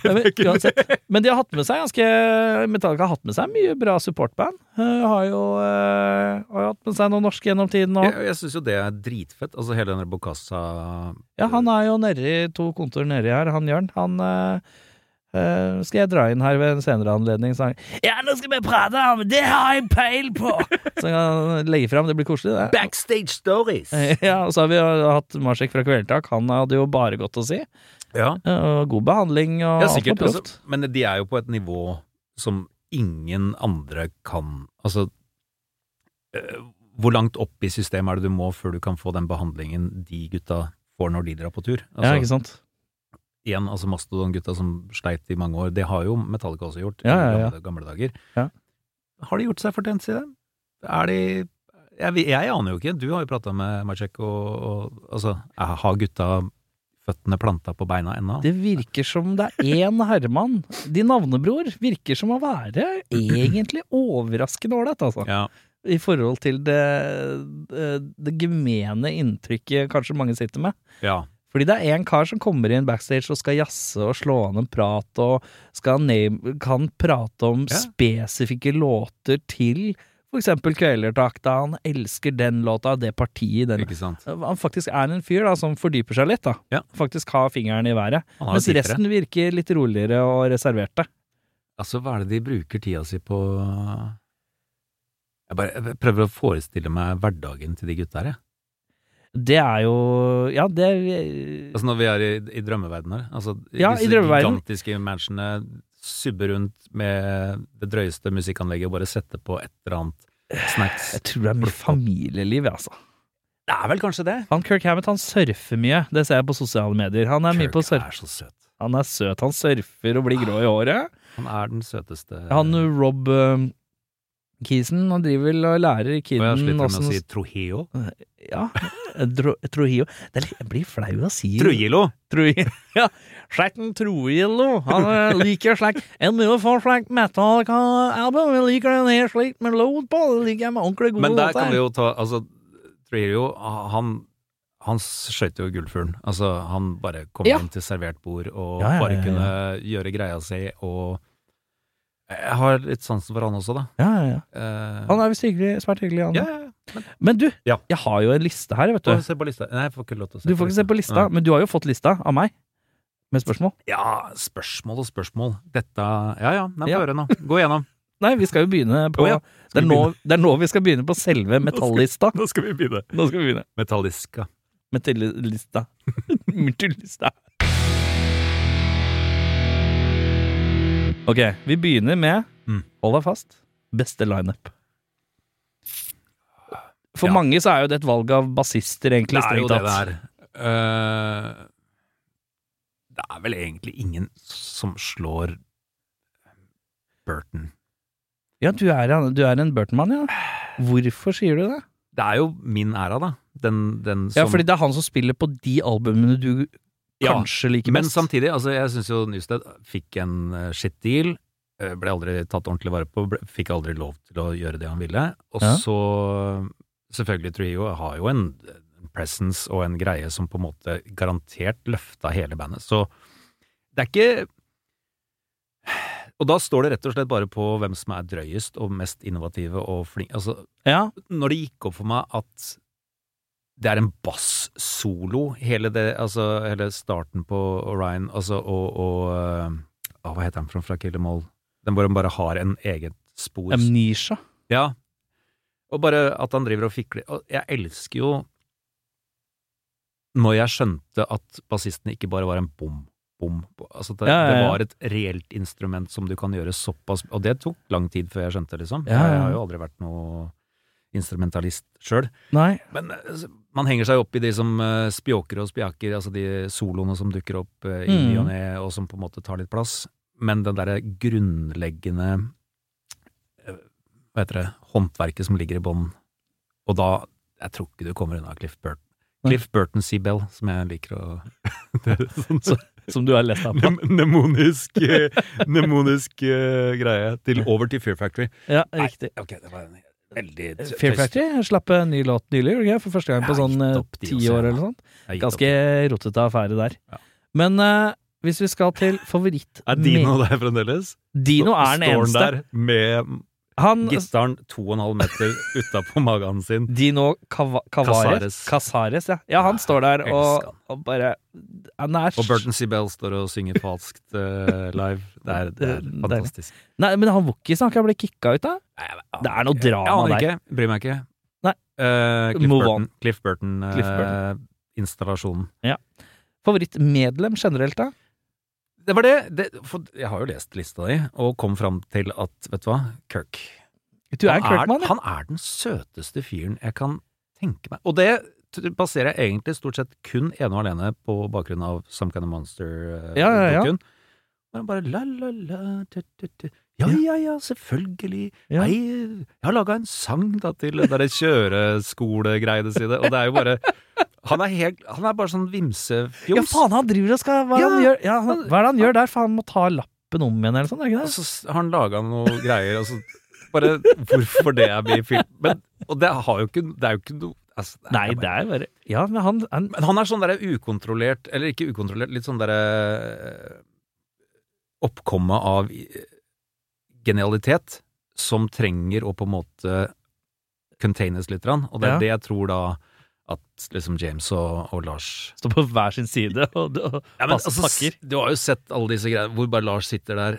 S1: Nei, Men, uansett. Men de har hatt med seg ganske Metallica har hatt med seg mye bra supportband. Eh, Har jo, eh, har jo hatt med seg noen norske gjennom tiden òg.
S2: Jeg, jeg syns jo det er dritfett. Altså hele den der Bocassa
S1: Ja, han er jo nedi to kontor nedi her, han Jørn. Han eh, eh, skal jeg dra inn her ved en senere anledning, så han Ja, nå skal vi prate om det har jeg peil på! Så kan han legge fram, det blir koselig, det.
S2: Backstage stories!
S1: Ja, og så har vi jo hatt Marsek fra Kvelertak, han hadde jo bare godt å si.
S2: Ja.
S1: Ja, Og god behandling og
S2: Ja,
S1: alt
S2: sikkert.
S1: var proft.
S2: Altså, men de er jo på et nivå som ingen andre kan Altså eh, Hvor langt opp i systemet er det du må før du kan få den behandlingen de gutta får når de drar på tur?
S1: ja,
S2: Altså,
S1: ikke sant?
S2: Igjen, altså Mastodon-gutta som sleit i mange år, det har jo Metallica også gjort
S1: Ja, ja,
S2: i
S1: ja.
S2: gamle, gamle dager.
S1: Ja.
S2: Har de gjort seg fortjent til det? Er de jeg, vet- jeg aner jo ikke, du har jo prata med Macek, og, og altså, er- har gutta føttene planta på beina ennå?
S1: Det virker som det er én herremann. De navnebror virker som å være egentlig overraskende ålreit, altså.
S2: Ja.
S1: I forhold eh, til det, det, det gemene inntrykket kanskje mange sitter med.
S2: ja.
S1: Fordi det er en kar som kommer inn backstage og skal jazze og slå an en prat, og skal name, kan prate om
S2: Ja.
S1: spesifikke låter til for eksempel Kvelertak, da han elsker den låta, det partiet i den Eh,
S2: Ikke sant?
S1: Han faktisk er en fyr da, som fordyper seg litt, da.
S2: Ja.
S1: Faktisk har fingeren i været.
S2: Han har
S1: Mens
S2: jo tippere.
S1: resten virker litt roligere og reserverte.
S2: Altså, hva er det de bruker tida si på Jeg bare jeg prøver å forestille meg hverdagen til de gutta her, jeg.
S1: Det er jo Ja, det
S2: Altså når vi er i, i drømmeverdenen her. Altså
S1: Ja, i
S2: disse
S1: drømmeverdenen.
S2: gigantiske mansionene subber rundt med det drøyeste musikkanlegget og bare setter på et eller annet snacks.
S1: Jeg tror det er mye familieliv, altså.
S2: Det er vel kanskje det?
S1: Han Kirk Hammett han surfer mye, det ser jeg på sosiale medier. Han er mye på surf.
S2: er så søt.
S1: Han er søt, han surfer og blir grå i håret.
S2: Han Ah, er den søteste
S1: Han Rob eh, Keeson, han driver vel og lærer
S2: Og jeg
S1: kiden
S2: sliter med å
S1: åssen
S2: si Trojeo.
S1: Ja, Dro- Trujillo. Det er litt- Jeg blir flau av å si
S2: Trujillo!
S1: Trujillo. Ja, Slacken Trujillo. Han eh, liker slik En mye for slik metallica-album. Jeg liker den her slik med load på. Det liker jeg med ordentlig gode
S2: Men der
S1: låter.
S2: kan vi jo ta Altså, Trujillo, han han skjøt jo gullfuglen. Altså, han bare kom
S1: Ja.
S2: inn til servert bord
S1: Ja,
S2: og
S1: ja, ja,
S2: bare
S1: ja.
S2: kunne gjøre greia si og Jeg har litt sansen for han også, da.
S1: Ja, ja, ja.
S2: Eh,
S1: Han er visst hyggelig. Svært hyggelig. Han.
S2: ja, ja, ja.
S1: Men du,
S2: Ja.
S1: jeg har jo en liste her, vet
S2: Få
S1: du.
S2: se på lista. Nei, jeg får ikke lov til å se Mm.
S1: Du får ikke se på lista, men du har jo fått lista av meg. Med spørsmål.
S2: Ja, spørsmål og spørsmål. Dette Ja ja, nei,
S1: Ja.
S2: få høre nå. Gå gjennom.
S1: Nei, vi skal jo begynne på
S2: Å ja,
S1: det,
S2: skal
S1: er
S2: vi
S1: nå, det er nå vi skal begynne på selve metallista.
S2: Nå skal vi begynne.
S1: Nå skal vi begynne.
S2: Metalliska.
S1: Metallista. Metallista. Ok, vi begynner med
S2: Mm.
S1: Hold deg fast. Beste lineup. For
S2: Ja.
S1: mange så er jo det et valg av bassister, egentlig, strengt tatt.
S2: Eh, det er vel egentlig ingen som slår Burton.
S1: Ja, du er, en- du er en Burton-mann, ja. Hvorfor sier du det?
S2: Det er jo min æra, da. Den, den som
S1: Ja, fordi det er han som spiller på de albumene du
S2: Ja,
S1: kanskje liker
S2: Men
S1: best.
S2: samtidig, altså, jeg syns jo Newsted fikk en eh, shit deal. eh, Ble aldri tatt ordentlig vare på, ble, fikk aldri lov til å gjøre det han ville. Og
S1: Ja.
S2: så, selvfølgelig, Trio har jo en en presence og en greie som på en måte garantert løfta hele bandet. Så det er ikke Og da står det rett og slett bare på hvem som er drøyest og mest innovative og flink Altså,
S1: Ja,
S2: når det gikk opp for meg at det er en bass-solo, hele, det- altså, hele starten på Orion, altså, og, og øh, ah, Hva heter han fra, fra Kill Em All? Den hvor han bare har en eget spor.
S1: Amnesia.
S2: Ja. Og bare at han driver og fikler. Og jeg elsker jo når jeg skjønte at bassisten ikke bare var en bom, bom, bom. Altså det,
S1: Ja, ja,
S2: det
S1: ja.
S2: var et reelt instrument som du kan gjøre såpass Og det tok lang tid før jeg skjønte, liksom.
S1: Ja, ja,
S2: Jeg
S1: ja.
S2: har jo aldri vært noe instrumentalist sjøl.
S1: Nei.
S2: Men eh, s- man henger seg opp i de som eh, spjåker og spjaker, altså de soloene som dukker opp eh, i
S1: Mm.
S2: ny og ne, og som på en måte tar litt plass. Men den derre grunnleggende eh, Hva heter det håndverket som ligger i bånn. Og da Jeg tror ikke du kommer unna Cliff Burton.
S1: Nei.
S2: Cliff Burton Seabell, som jeg liker å Det er sånn
S1: Så- Som du har lest av på.
S2: nem- Nemonisk, eh, nemonisk eh, greie. Til, over til Fear Factory.
S1: Ja,
S2: Nei,
S1: riktig.
S2: ok, det var en veldig
S1: Fear Factory slapp en ny låt nylig, gjorde de ikke? for første gang på
S2: Ja,
S1: sånn
S2: gitt
S1: eh,
S2: opp de
S1: ti
S2: også,
S1: år
S2: ja.
S1: eller sånt.
S2: Jeg gikk opp.
S1: Ganske rotete affære der.
S2: Ja.
S1: Men eh, hvis vi skal til favoritt
S2: Er Dino der fremdeles?
S1: Dino er den
S2: Står han
S1: eneste.
S2: der med
S1: Han,
S2: gitaren to og en halv meter utapå magen sin.
S1: Dino Cava- Cavares.
S2: Casares.
S1: Casares, ja. ja. Han står der
S2: Jeg
S1: og,
S2: elsker han.
S1: og bare Han er
S2: Og Burton Seabell står og synger falskt eh, live. Det er, det er
S1: Deilig.
S2: fantastisk.
S1: Nei, men han Wookiesen har ikke blitt kicka ut, da? Det er noe
S2: ah. Jeg
S1: drama
S2: aner
S1: der.
S2: ikke. Bryr meg ikke.
S1: Nei.
S2: Eh, Cliff,
S1: Move
S2: Burton,
S1: on.
S2: Cliff Burton. eh,
S1: Cliff Burton.
S2: Installasjonen.
S1: Favorittmedlem generelt, da?
S2: Det var det. det for jeg har jo lest lista di, og kom fram til at, vet du hva, Kirk.
S1: Du er en
S2: han,
S1: Kirkman, ja.
S2: han er den søteste fyren jeg kan tenke meg. Og det t- baserer jeg egentlig stort sett kun ene og alene på bakgrunn av Some Kind of Monster-boken.
S1: Ja, ja, ja.
S2: Hvor han bare la, la, la tu, tu, tu. Ja, ja, ja, selvfølgelig.
S1: Ja.
S2: Nei, jeg har laga en sang da til det derre kjøreskolegreiene sine, og det er jo bare Han er, helt, han er bare sånn
S1: Ja,
S2: vimsefjoms.
S1: faen, han driver og skal Hva er det han
S2: Ja.
S1: gjør, ja, han, hva er det han gjør der? Faen, han må ta lappen om igjen, eller sånn, er det
S2: Og
S1: ikke det?
S2: så s- har han laga noe greier, og så bare Hvorfor det er med i film? Men, og det, har jo ikke, det er jo ikke noe altså, det er
S1: Nei,
S2: bare-
S1: det er bare Ja, men han, han
S2: Men han er sånn derre ukontrollert, eller ikke ukontrollert, litt sånn derre eh, Oppkomme av eh, genialitet som trenger å på en måte containes litt, grann, og det er
S1: Ja.
S2: det jeg tror da at liksom James og, og Lars
S1: står på hver sin side og, og
S2: Ja, men
S1: passer
S2: altså,
S1: pakker.
S2: s- Du har jo sett alle disse greiene hvor bare Lars sitter der.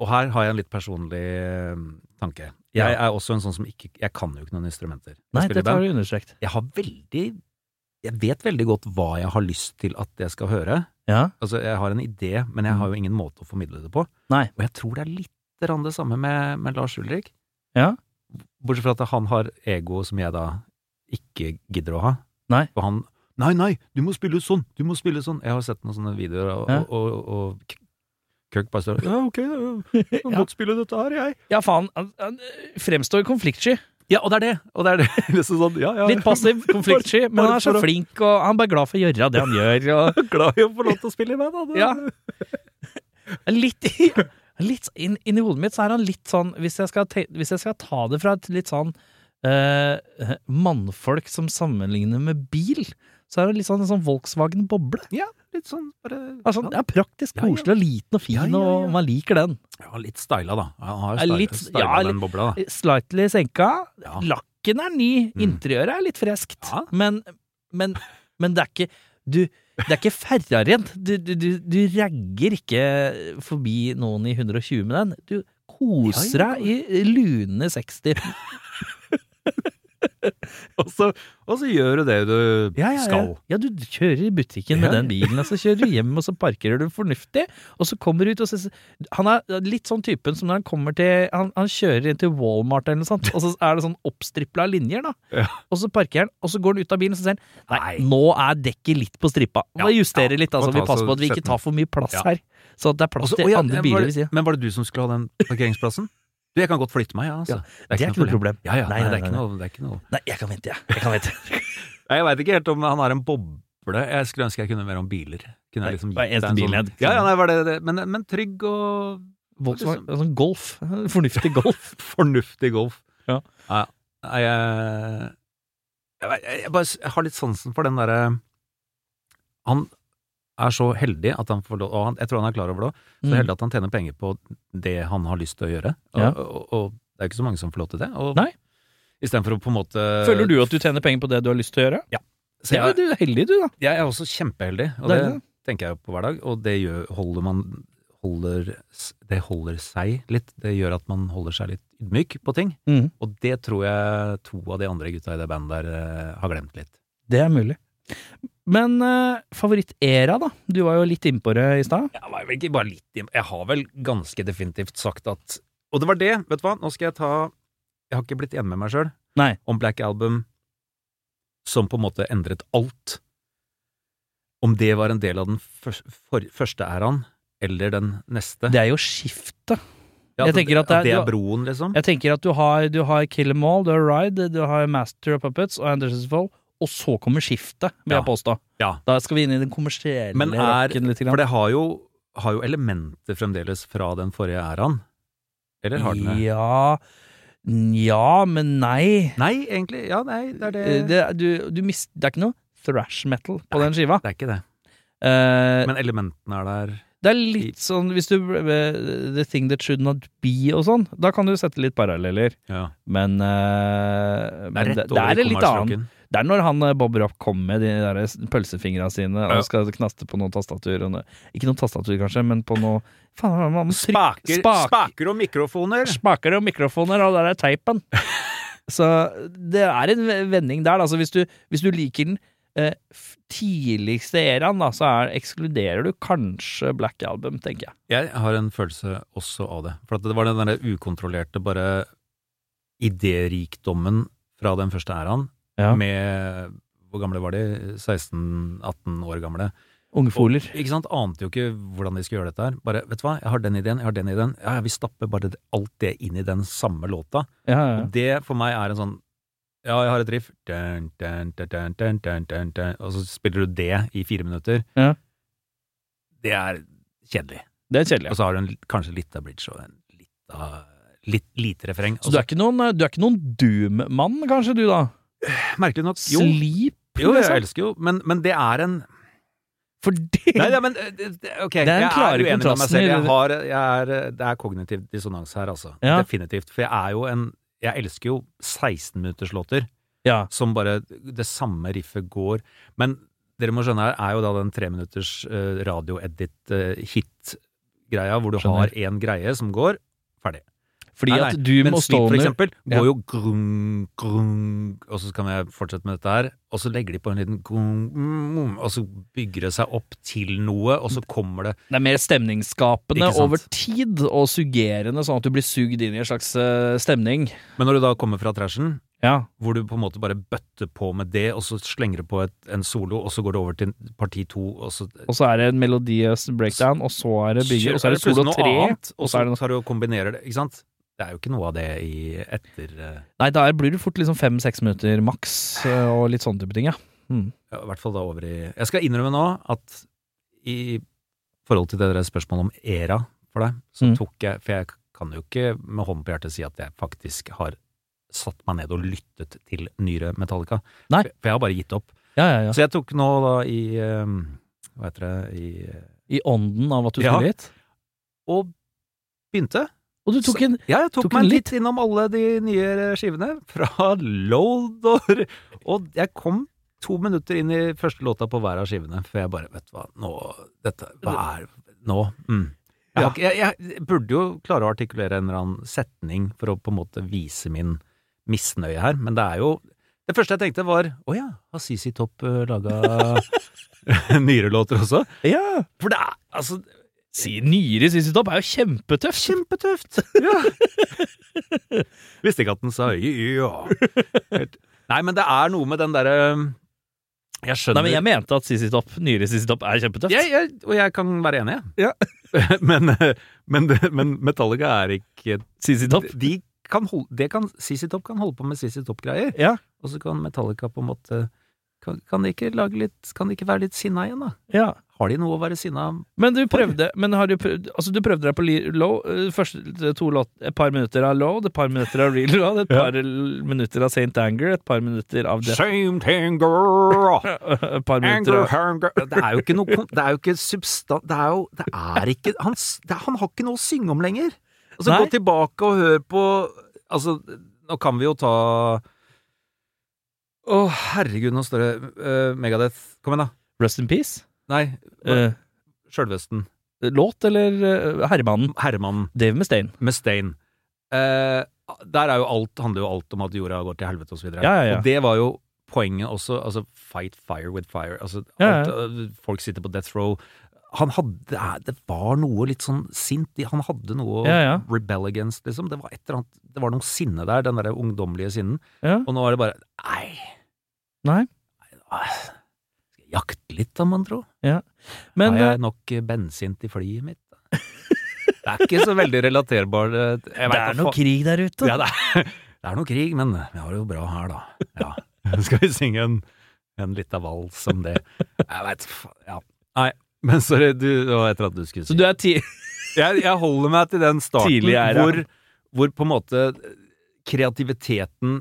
S2: Og her har jeg en litt personlig eh, tanke. Jeg er også en sånn som ikke Jeg kan jo ikke noen instrumenter. Jeg
S1: Nei,
S2: spiller i
S1: dette har
S2: band.
S1: du understreket.
S2: Jeg har veldig Jeg vet veldig godt hva jeg har lyst til at jeg skal høre.
S1: Ja.
S2: Altså, jeg har en idé, men jeg har jo ingen måte å formidle det på.
S1: Nei.
S2: Og jeg tror det er litt grann det samme med, med Lars Ulrik.
S1: Ja.
S2: Bortsett fra at han har ego som jeg da ikke gidder å ha.
S1: Nei.
S2: For han Nei, nei, du må spille sånn! Du må spille sånn! Jeg har sett noen sånne videoer, og,
S1: Ja.
S2: og, og, og Kirk bare står Ja, ok, jeg kan godt spille dette her, jeg.
S1: Ja, faen. Han, han eh, fremstår konfliktsky.
S2: Ja, og det er det! Og det er det. liksom sånn, ja, ja.
S1: Litt passiv, konfliktsky, men han er så
S2: Bare for å-
S1: flink, og han er bare glad for å gjøre det han gjør. Og
S2: Glad i å få lov til å spille i band, da. Det-
S1: Ja. Litt, litt inn, inn i hodet mitt så er han litt sånn Hvis jeg skal, te, hvis jeg skal ta det fra et litt sånn eh, mannfolk som sammenligner med bil, så er det litt sånn en sånn Volkswagen Boble.
S2: ja, litt sånn bare
S1: Altså, det er praktisk
S2: Ja, ja.
S1: koselig og liten og fin,
S2: Ja, ja, ja.
S1: og man liker den.
S2: Ja, litt styla, da. Han har
S1: Ja,
S2: jo styla,
S1: litt-
S2: styla
S1: ja,
S2: den bobla, da.
S1: Slightly senka.
S2: Ja.
S1: Lakken er ny,
S2: Mm.
S1: interiøret er litt freskt,
S2: Ja.
S1: men, men, men det er ikke du, det er ikke Ferrarien. Du, du, du, du ragger ikke forbi noen i 120 med den. Du koser
S2: Ja, ja,
S1: deg i lune 60.
S2: Og så, og så gjør du det du skal.
S1: Ja, du kjører i butikken med
S2: Ja.
S1: den bilen, og så kjører du hjem, og så parkerer du fornuftig, og så kommer du ut og så Han er litt sånn typen som når han kommer til Han, han kjører inn til Walmart eller noe sånt, og så er det sånn oppstripla linjer, da.
S2: Ja.
S1: Og så parkerer han, og så går han ut av bilen, og så sier han
S2: Nei.
S1: Nei, nå er dekket litt på strippa.
S2: Ja,
S1: Må justere
S2: ja,
S1: litt, altså.
S2: må ta
S1: Vi passer
S2: så
S1: på at vi
S2: sett
S1: ikke tar for mye plass
S2: Ja.
S1: her. Så at det er
S2: Og
S1: plass
S2: så-
S1: til
S2: å, ja,
S1: andre
S2: var
S1: biler
S2: det-
S1: ved siden.
S2: Men var det du som skulle ha den parkeringsplassen? Du, jeg kan godt flytte meg, ja, altså.
S1: det er ikke noe problem.
S2: Ja, ja,
S1: Nei,
S2: nei,
S1: nei,
S2: det, er ikke
S1: nei,
S2: noe, det er ikke noe
S1: Nei, jeg kan vente, jeg. Jeg kan vente.
S2: Nei, Jeg veit ikke helt om han har en boble. Jeg skulle ønske jeg kunne mer om biler. Kunne
S1: Nei,
S2: jeg liksom
S1: det var
S2: gitt deg
S1: eneste
S2: en
S1: bilen
S2: sånn,
S1: jeg-
S2: ja, ja, nei, var det, det. Men, men trygg og
S1: Volkswagen, sånn golf. Fornuftig golf.
S2: fornuftig golf.
S1: Ja.
S2: Nei, nei, jeg, jeg, vet- jeg, bare, s- jeg har litt sansen for den derre Han er så heldig at han får lov Og han, jeg tror han er klar over det òg. Så
S1: Mm.
S2: heldig at han tjener penger på det han har lyst til å gjøre. Og,
S1: Ja.
S2: og, og det er jo ikke så mange som får lov til det. Og,
S1: Nei.
S2: Istedenfor å på en måte
S1: Føler du at du tjener penger på det du har lyst til å gjøre?
S2: Så jeg,
S1: du er heldig, du, da.
S2: jeg er også kjempeheldig, og det,
S1: Deilig.
S2: tenker jeg jo på hver dag. Og det gjør, holder man holder, s- Det holder seg litt. Det gjør at man holder seg litt ydmyk på ting.
S1: Mhm.
S2: Og det tror jeg to av de andre gutta i det bandet der eh, har glemt litt.
S1: Det er mulig. Men eh, favorittera, da? Du var jo litt innpå det i stad.
S2: Jeg var vel ikke bare litt im- Jeg har vel ganske definitivt sagt at Og det var det, vet du hva, nå skal jeg ta Jeg har ikke blitt enig med meg sjøl
S1: Nei.
S2: om Black Album, som på en måte endret alt. Om det var en del av den førs- for, første æraen, eller den neste.
S1: Det er jo skiftet.
S2: Ja,
S1: jeg tenker at det er- du
S2: det er
S1: har-
S2: broen, liksom.
S1: Jeg tenker at du har, du har Kill 'Em All, du har Ride, du har Master of Puppets og Anderson's Fall, og så kommer skiftet, vil
S2: Ja.
S1: jeg påstå.
S2: Ja.
S1: Da skal vi inn i den kommersielle
S2: Men er-
S1: rocken litt.
S2: For
S1: Grann.
S2: det har jo, har jo elementer fremdeles fra den forrige æraen. Eller har den det?
S1: Ja Nja, men nei.
S2: Nei, egentlig. Ja, nei, det er det.
S1: Eh, Det, du, du mist, det er ikke noe thrash metal på den skiva.
S2: Det er ikke det.
S1: Eh,
S2: Men elementene er der.
S1: Det er litt sånn Hvis du eh, The thing that should not be og sånn, da kan du sette litt paralleller.
S2: Ja.
S1: Men, eh,
S2: Det er
S1: men det,
S2: rett
S1: det
S2: over
S1: er
S2: i
S1: en litt annen.
S2: kommersrocken.
S1: Det er når han eh, Bob Rock kommer med de der s- pølsefingra sine
S2: Ja.
S1: og skal knaste på noen tastatur og noe. Ikke noen tastatur, kanskje, men på noe Faen, hva er det man trykker?
S2: Spaker,
S1: Spak-
S2: spaker og mikrofoner!
S1: Spaker og mikrofoner, og der er teipen. Så det er en vending der. da. Altså, hvis, du, hvis du liker den eh, f- tidligste eraen, da, så er, ekskluderer du kanskje Black Album, tenker jeg.
S2: Jeg har en følelse også av det. For at det var den der ukontrollerte bare idérikdommen fra den første æraen,
S1: Ja.
S2: med hvor gamle var de? 16-18 år gamle.
S1: Ungfoler.
S2: Ikke sant? Ante jo ikke hvordan de skulle gjøre dette her. Bare, vet du hva, jeg har den ideen, jeg har den ideen. Ja, ja, vi stapper bare det- alt det inn i den samme låta.
S1: Ja, ja.
S2: Og det for meg er en sånn ja, jeg har et riff, dun, dun, dun, dun, dun, dun, dun, dun, og så spiller du det i fire minutter.
S1: Ja.
S2: Det er kjedelig.
S1: Det er kjedelig.
S2: Og så har du en, kanskje litt av bridge og en litt av litt, lite refreng. altså-
S1: eh, Så du er ikke noen, du er ikke noen doom-mann, kanskje, du da?
S2: Merkelig nok Jo,
S1: Sleep,
S2: jo jeg
S1: liksom?
S2: elsker jo, men, men det er en
S1: For det
S2: Nei, ja, men eh, det- det- ok,
S1: Det er den
S2: jeg
S1: klare
S2: er uenig med meg
S1: kontrasten i
S2: selv. Jeg
S1: det-
S2: har, jeg er, eh, det er kognitiv dissonans her, altså.
S1: Ja.
S2: Definitivt. For jeg er jo en Jeg elsker jo 16-minutterslåter
S1: Ja.
S2: som bare Det samme riffet går. Men dere må skjønne her, er jo da den treminutters uh, radioedit-hit-greia, eh, hvor du har
S1: Skjønner.
S2: én greie som går. Ferdig.
S1: Fordi
S2: Nei, nei,
S1: at Doom
S2: Men
S1: og
S2: Sleep, for
S1: Stoner
S2: eksempel,
S1: Ja.
S2: går jo grung, grung, og så kan jeg fortsette med dette her, og så legger de på en liten grung, mm, og så bygger det seg opp til noe, og så kommer det
S1: Det er mer stemningsskapende
S2: Ikke sant?
S1: over tid og suggerende, sånn at du blir sugd inn i en slags eh, stemning.
S2: Men når du da kommer fra trashen,
S1: Ja.
S2: hvor du på en måte bare bøtter på med det, og så slenger du på et, en solo, og så går det over til parti to, og så
S1: Og så er det en melodiøs breakdown, og så er det bygger, og så er det solo
S2: plutselig noe
S1: tre.
S2: annet,
S1: så er
S2: og så
S1: det noe-
S2: tar du og kombinerer det, ikke sant? Det er jo ikke noe av det i etter eh,
S1: Nei, der blir det fort liksom fem-seks minutter maks, eh, og litt sånn type ting, ja.
S2: ja, I hvert fall da over i Jeg skal innrømme nå at i forhold til det der spørsmålet om era for deg, så
S1: Mm.
S2: tok jeg For jeg kan jo ikke med hånden på hjertet si at jeg faktisk har satt meg ned og lyttet til nyere Metallica.
S1: Nei.
S2: For for jeg har bare gitt opp.
S1: Ja, ja, ja.
S2: Så jeg tok nå da i eh, Hva heter det i, eh,
S1: I ånden av at du
S2: Ja.
S1: skulle hit.
S2: Og begynte.
S1: Og du tok en
S2: Ja, jeg tok,
S1: Tok
S2: meg
S1: en
S2: litt innom alle de nye eh, skivene fra Loldor. Og jeg kom to minutter inn i første låta på hver av skivene, for jeg bare Vet du hva, nå Dette Hva er Nå. Mm. Jeg, har ikke- jeg, jeg burde jo klare å artikulere en eller annen setning for å på en måte vise min misnøye her, men det er jo Det første jeg tenkte, var Å ja, har CC Topp laga nyere låter også?
S1: Ja!
S2: For det er altså
S1: Si nyere CC Topp er jo kjempetøft!
S2: Kjempetøft! Visste ikke at den sa ja. Helt- Nei, men det er noe med den derre um, Jeg skjønner
S1: Nei, men jeg mente at CC Topp, nyere CC Topp, er kjempetøft.
S2: jeg, jeg, Og jeg kan være enig, jeg. men, eh, men, det- men Metallica er ikke
S1: CC Topp.
S2: De kan holde det kan, CC Topp kan holde på med CC Topp-greier,
S1: Ja.
S2: og så kan Metallica på en måte kan, kan, de ikke lage litt, kan de ikke være litt sinna igjen, da?
S1: Ja.
S2: Har de noe å være sinna
S1: Men du prøvde Men har du prøvd Altså du prøvde deg på li- low eh, Første to låt Et par minutter av low Et par minutter av real low Et par l- minutter av Saint Anger Et par minutter av Death
S2: Same thing, girl!
S1: Et par minutter av
S2: Det er jo ikke noe kon- Det er jo ikke substans Det er jo Det er ikke Han, s- det, er- han har ikke noe å synge om lenger. Altså,
S1: Nei.
S2: gå tilbake og hør på Altså, nå kan vi jo ta Å, herregud, nå står det eh, Megadeth. Kom igjen, da.
S1: Rest in Peace
S2: Nei,
S1: Eh,
S2: sjølvesten.
S1: Låt eller eh, Herremannen
S2: Herremannen.
S1: Dave Mustaine
S2: Mustaine. Eh, der er jo alt, handler jo alt om at jorda går til helvete og så videre.
S1: Ja, ja, ja.
S2: Og det var jo poenget også. Altså, fight fire with fire. Altså,
S1: Ja, ja.
S2: alt, øh, folk sitter på death row. Han hadde, det er- det var noe litt sånn sint i- Han hadde noe å
S1: Ja, ja.
S2: rebel against, liksom. Det var et eller annet Det var noe sinne der, den derre ungdommelige sinnen.
S1: Ja
S2: Og nå er det bare Nei.
S1: Nei.
S2: Nei, Skal jeg jakte litt, da, man tro?
S1: Men
S2: Har
S1: eh,
S2: jeg nok eh, bensin til flyet mitt? da? Det er ikke så veldig relaterbar eh, jeg
S1: Det
S2: vet da
S1: er noe
S2: fa-
S1: krig der ute
S2: ja, det er, det er noe krig, men eh, vi har det jo bra her, da. Ja. Skal vi synge en, en lita vals om det? Jeg veit ja. Nei, men sorry, du, det var et eller annet du skulle
S1: Så
S2: si.
S1: du er ti
S2: Jeg, jeg holder meg til den starten
S1: Tidlig æra.
S2: hvor, hvor på en måte kreativiteten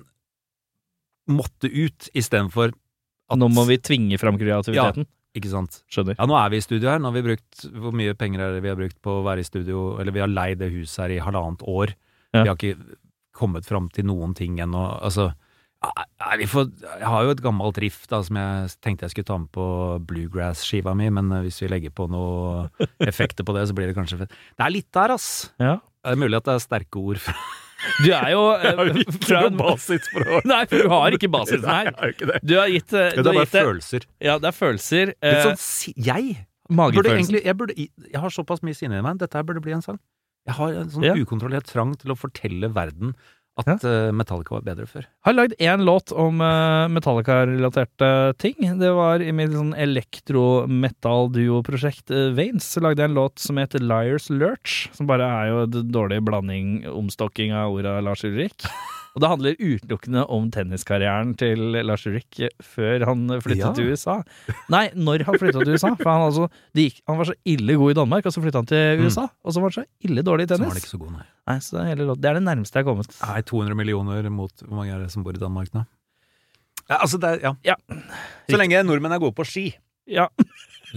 S2: måtte ut istedenfor at
S1: Nå må vi tvinge fram kreativiteten
S2: Ikke sant.
S1: Skjønner
S2: Ja, nå er vi i studio her. Nå har vi brukt Hvor mye penger er det vi har brukt på å være i studio? Eller vi har leid det huset her i halvannet år.
S1: Ja.
S2: Vi har ikke kommet fram til noen ting ennå. Altså Nei, vi får Jeg har jo et gammelt riff da som jeg tenkte jeg skulle ta med på bluegrass-skiva mi, men eh, hvis vi legger på noen effekter på det, så blir det kanskje fett. Det er litt der, ass.
S1: Ja
S2: Det er mulig at det er sterke ord fra
S1: Du er jo eh, fra en-
S2: basisspråk.
S1: Nei, for du har ikke basisen
S2: Nei,
S1: her
S2: jeg har jo ikke det.
S1: Du har gitt eh, du har
S2: Det er bare
S1: gitt det
S2: følelser.
S1: Ja, det er følelser
S2: Litt
S1: eh,
S2: sånn si- Jeg Burde
S1: Magefølelsen
S2: egentlig, jeg, burde, jeg har såpass mye sinne i meg. Dette her burde bli en sang. Jeg har en sånn
S1: Ja.
S2: ukontrollert trang til å fortelle verden at eh, Metallica var bedre før.
S1: Har lagd én låt om eh, Metallica-relaterte ting. Det var i mitt sånn elektro-metal-duo-prosjekt eh, Veins. Så lagde jeg en låt som heter Liars Lurch, som bare er jo en dårlig blanding, omstokking av orda Lars Ulrik. Og det handler utelukkende om tenniskarrieren til Lars Ulrik eh, før han flyttet
S2: Ja.
S1: til USA. Nei, når han flytta til USA. For han, altså, det gikk, han var så ille god i Danmark, og så flytta han til
S2: Mm.
S1: USA. Og så var han så ille dårlig i
S2: Så var den ikke
S1: tennis.
S2: så god, nei.
S1: Nei, så det, er hele låten- det er det nærmeste jeg har kommet.
S2: Nei, 200 millioner mot hvor mange er det som bor i Danmark nå? Ja, altså det er, ja.
S1: Ja.
S2: Så lenge nordmenn er gode på ski.
S1: Ja,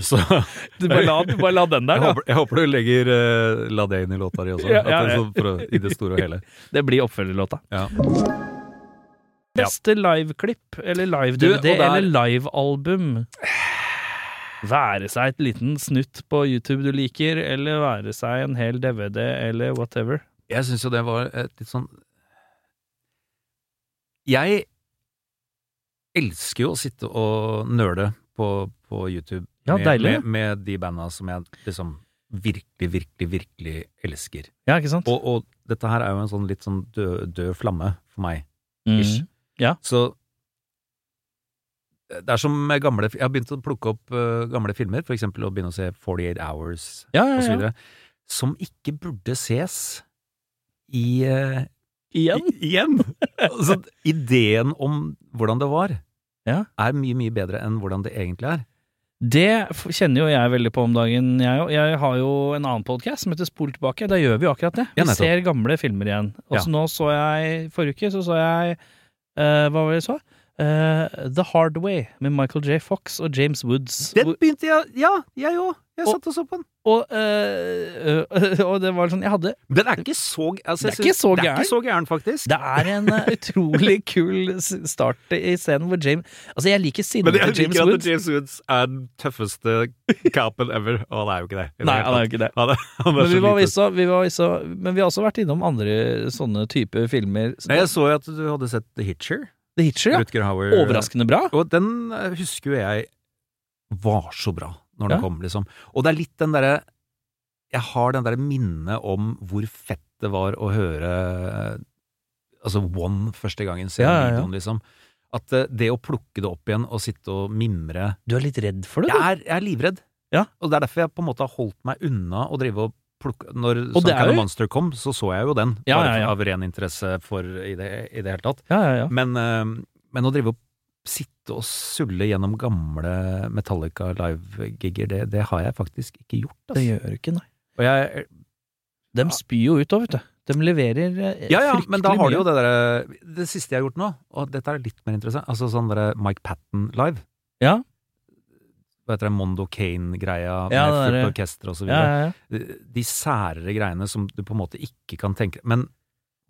S2: Så jeg
S1: du bare la, du bare la den der, da.
S2: håper, jeg håper du legger eh, La det inn i låta di også.
S1: Ja, ja,
S2: at det er
S1: ja.
S2: sånn for å, I det store og hele.
S1: Det blir oppfølgerlåta.
S2: Ja. Ja.
S1: Beste liveklipp eller
S2: Du, og
S1: live-DVD
S2: der-
S1: eller livealbum? Være seg et liten snutt på YouTube du liker, eller være seg en hel DVD eller whatever.
S2: Jeg syns jo det var et litt sånn Jeg elsker jo å sitte og nøle på, på YouTube
S1: Ja,
S2: med,
S1: deilig.
S2: med, med de banda som jeg liksom virkelig, virkelig, virkelig elsker.
S1: Ja, ikke sant?
S2: Og, og dette her er jo en sånn litt sånn død, død flamme for meg. ish.
S1: mm.
S2: Så det er som med gamle Jeg har begynt å plukke opp eh, gamle filmer, for eksempel å begynne å se 48 Hours
S1: Ja,
S2: og
S1: ja,
S2: så
S1: ja.
S2: videre, som ikke burde ses i eh,
S1: Igjen.
S2: i- Igjen! altså, ideen om hvordan det var,
S1: Ja.
S2: er mye, mye bedre enn hvordan det egentlig er.
S1: Det f- kjenner jo jeg veldig på om dagen, jeg òg. Jeg har jo en annen podkast som heter Spol tilbake. Da gjør vi jo akkurat det. Vi
S2: Ja, nettopp.
S1: ser gamle filmer igjen. Og så nå så jeg Forrige uke så så jeg eh, Hva var det jeg så? Eh, The Hard Way med Michael J. Fox og James Woods. Hvor-
S2: begynte jeg Ja, jeg òg! Jeg
S1: Og-
S2: og så på den.
S1: Og, eh, eh, og det var sånn Jeg hadde
S2: Den er ikke så altså, jeg
S1: Det er ikke
S2: synes-
S1: så
S2: Det er ikke så gæren, faktisk.
S1: Det er en eh, utrolig kul s- start i scenen hvor James Altså, jeg liker sinnet til James Woods.
S2: James Woods er den tøffeste capen ever, og han er jo ikke det.
S1: Nei, han er jo ikke det. Men vi, var visst, vi var visst, men vi har også vært innom andre sånne type filmer.
S2: Nei, jeg så jo at du hadde sett The Hitcher.
S1: The Hitcher, ja.
S2: Rutger Hauer.
S1: Overraskende bra.
S2: Og den eh, husker jo jeg var så bra når den
S1: Ja.
S2: kom, liksom. Og det er litt den derre Jeg har den derre minnet om hvor fett det var å høre eh, Altså One første gangen, se
S1: Ja, ja, ja.
S2: videoen, liksom. At eh, det å plukke det opp igjen og sitte og mimre
S1: Du er litt redd for det,
S2: Jeg
S1: du.
S2: er, jeg er livredd.
S1: Ja.
S2: Og det er derfor jeg på en måte har holdt meg unna å drive og plukke Når
S1: Og det er
S2: Sunken
S1: jo-
S2: Monster kom, så så jeg jo den.
S1: Ja,
S2: bare
S1: ja, ja.
S2: Av ren interesse for i det, i det hele tatt.
S1: Ja, ja, ja.
S2: Men, eh, men å drive og sitte og sulle gjennom gamle Metallica live-gigger, det, det har jeg faktisk ikke gjort. ass.
S1: Det gjør du ikke, nei.
S2: Og jeg,
S1: De spyr jo ut da, vet du. De leverer eh,
S2: ja, ja, men da har du jo
S1: mye.
S2: det derre Det siste jeg har gjort nå, og dette er litt mer interessant, altså sånn derre Mike Patten live.
S1: Ja.
S2: Hva heter det, Mondo Kane-greia med
S1: Ja, det
S2: fullt
S1: der-
S2: orkester og
S1: Ja,
S2: så videre.
S1: ja, ja.
S2: De særere greiene som du på en måte ikke kan tenke Men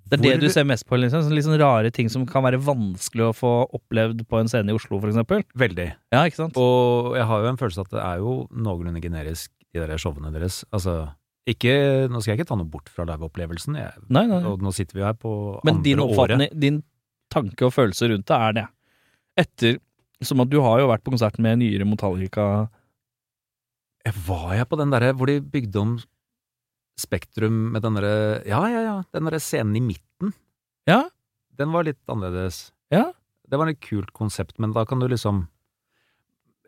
S1: Det er det
S2: hvor-
S1: du ser mest på, liksom. Sånne litt sånn rare ting som kan være vanskelig å få opplevd på en scene i Oslo, for eksempel.
S2: Veldig.
S1: Ja, ikke sant?
S2: Og jeg har jo en følelse at det er jo noenlunde generisk, de der showene deres. Altså, ikke, nå skal jeg ikke ta noe bort fra liveopplevelsen, jeg-
S1: Nei, nei. nei.
S2: og nå sitter vi jo her på
S1: Men din
S2: andre året.
S1: oppfatning, din tanke og følelse rundt det er det. Etter Som at du har jo vært på konsert med nyere Metallica
S2: Jeg Eh, Var jeg på den derre hvor de bygde om Spektrum med den derre Ja, ja, ja, den derre scenen i midten.
S1: Ja.
S2: Den var litt annerledes.
S1: Ja.
S2: Det var et kult konsept, men da kan du liksom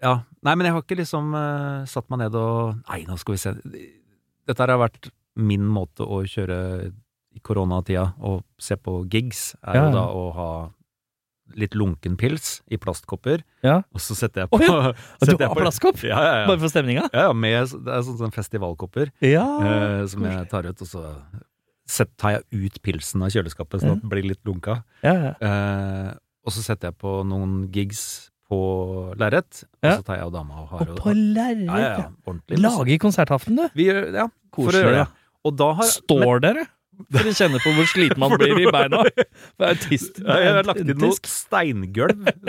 S2: Ja. Nei, men jeg har ikke liksom eh, satt meg ned og Nei, nå skal vi se. Dette her har vært min måte å kjøre i koronatida og se på gigs,
S1: Ja,
S2: er jo
S1: ja.
S2: da å ha litt lunken pils i plastkopper,
S1: Ja.
S2: og så setter jeg
S1: Å
S2: på
S1: ja,
S2: setter
S1: Du
S2: jeg
S1: har
S2: på-
S1: plastkopp?
S2: Ja, ja, ja.
S1: Bare for stemninga?
S2: Ja, ja, med, det er sånn, sånn festivalkopper
S1: Ja.
S2: eh, som jeg tar ut, og så set- tar jeg ut pilsen av kjøleskapet,
S1: Mm.
S2: sånn at den blir litt lunka.
S1: ja, ja.
S2: Eh, og så setter jeg på noen gigs på lerret,
S1: Ja.
S2: og så tar jeg og dama og har
S1: Og på lerret!
S2: ja, ja, ja,
S1: ja.
S2: ordentlig.
S1: Lage konsertaften, du.
S2: Vi gjør, ja, for å
S1: Koselig,
S2: gjøre
S1: ja.
S2: det. Og da har
S1: Står dere? For å kjenne på hvor sliten man blir i beina. For autist.
S2: Ja, jeg har lagt inn noe
S1: autistisk.
S2: steingulv.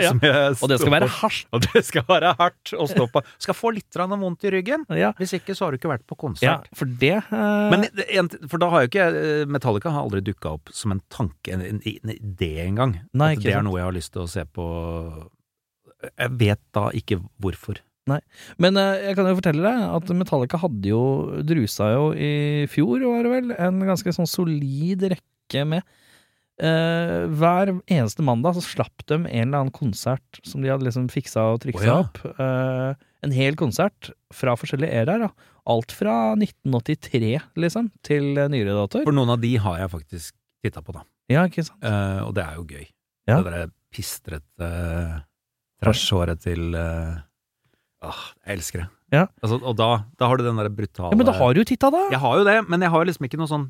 S1: Ja.
S2: som jeg
S1: Og det skal
S2: står
S1: være
S2: på.
S1: hardt.
S2: Og det skal være hardt å stå på. Skal få litt grann vondt i ryggen.
S1: Ja.
S2: Hvis ikke, så har du ikke vært på konsert.
S1: ja, for det eh,
S2: Men det- en, t- for da har jo ikke eh, Metallica har aldri dukka opp som en tanke, en, en, en idé engang.
S1: Nei,
S2: At
S1: ikke
S2: det er
S1: sant.
S2: noe jeg har lyst til å se på Jeg vet da ikke hvorfor.
S1: Men eh, jeg kan jo fortelle deg at Metallica hadde jo drusa jo i fjor, var det vel, en ganske sånn solid rekke med eh, Hver eneste mandag så slapp de en eller annen konsert som de hadde liksom fiksa og triksa
S2: Å ja.
S1: opp. Eh, en hel konsert fra forskjellige æraer. da. Alt fra 1983, liksom, til eh, nyere datoer.
S2: For noen av de har jeg faktisk titta på, da.
S1: Ja, ikke sant?
S2: Eh, og det er jo gøy.
S1: Ja.
S2: Det derre pistrete uh, trashhåret til eh, Åh, jeg elsker det.
S1: Ja.
S2: Altså, og da, da har du den derre brutale
S1: Ja, men da har du jo titta, da!
S2: Jeg har jo det, men jeg har liksom ikke noe sånn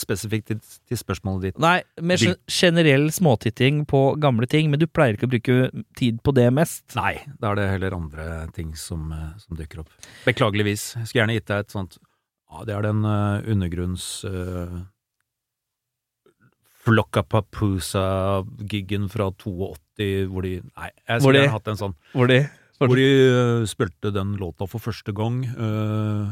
S2: spesifikt til, til spørsmålet ditt.
S1: Nei, mer
S2: Vil-
S1: gen- generell småtitting på gamle ting, men du pleier ikke å bruke tid på det mest.
S2: Nei, da er det heller andre ting som, eh, som dukker opp. Beklageligvis. Jeg skulle gjerne gitt deg et sånt Ja, det er den eh, undergrunns... Uh, Flokkapapusa-giggen fra 82, hvor de Nei, jeg
S1: Hvor
S2: skulle
S1: de-
S2: gjerne hatt en sånn.
S1: Hvor de
S2: Hvor de eh, spilte den låta for første gang. eh,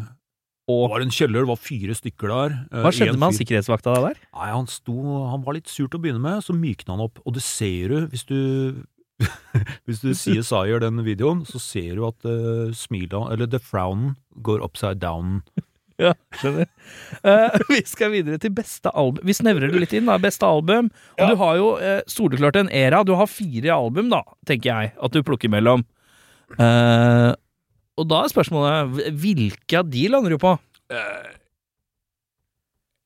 S2: det var en kjeller, det var fire stykker der. eh,
S1: Hva skjedde
S2: en
S1: med han
S2: fyr-
S1: sikkerhetsvakta da der?
S2: Nei, han sto Han var litt sur til å begynne med, så mykna han opp. Og det ser du hvis du Hvis du sier Sayer den videoen, så ser du at uh, smilet Eller the frownen går upside down.
S1: Ja, skjønner. Eh, vi skal videre til beste album. Vi snevrer det litt inn, da. Beste album. Og du har jo uh, soleklart en era. Du har fire album, da, tenker jeg, at du plukker mellom. Eh, og da er spørsmålet hv- hvilke av de lander du på?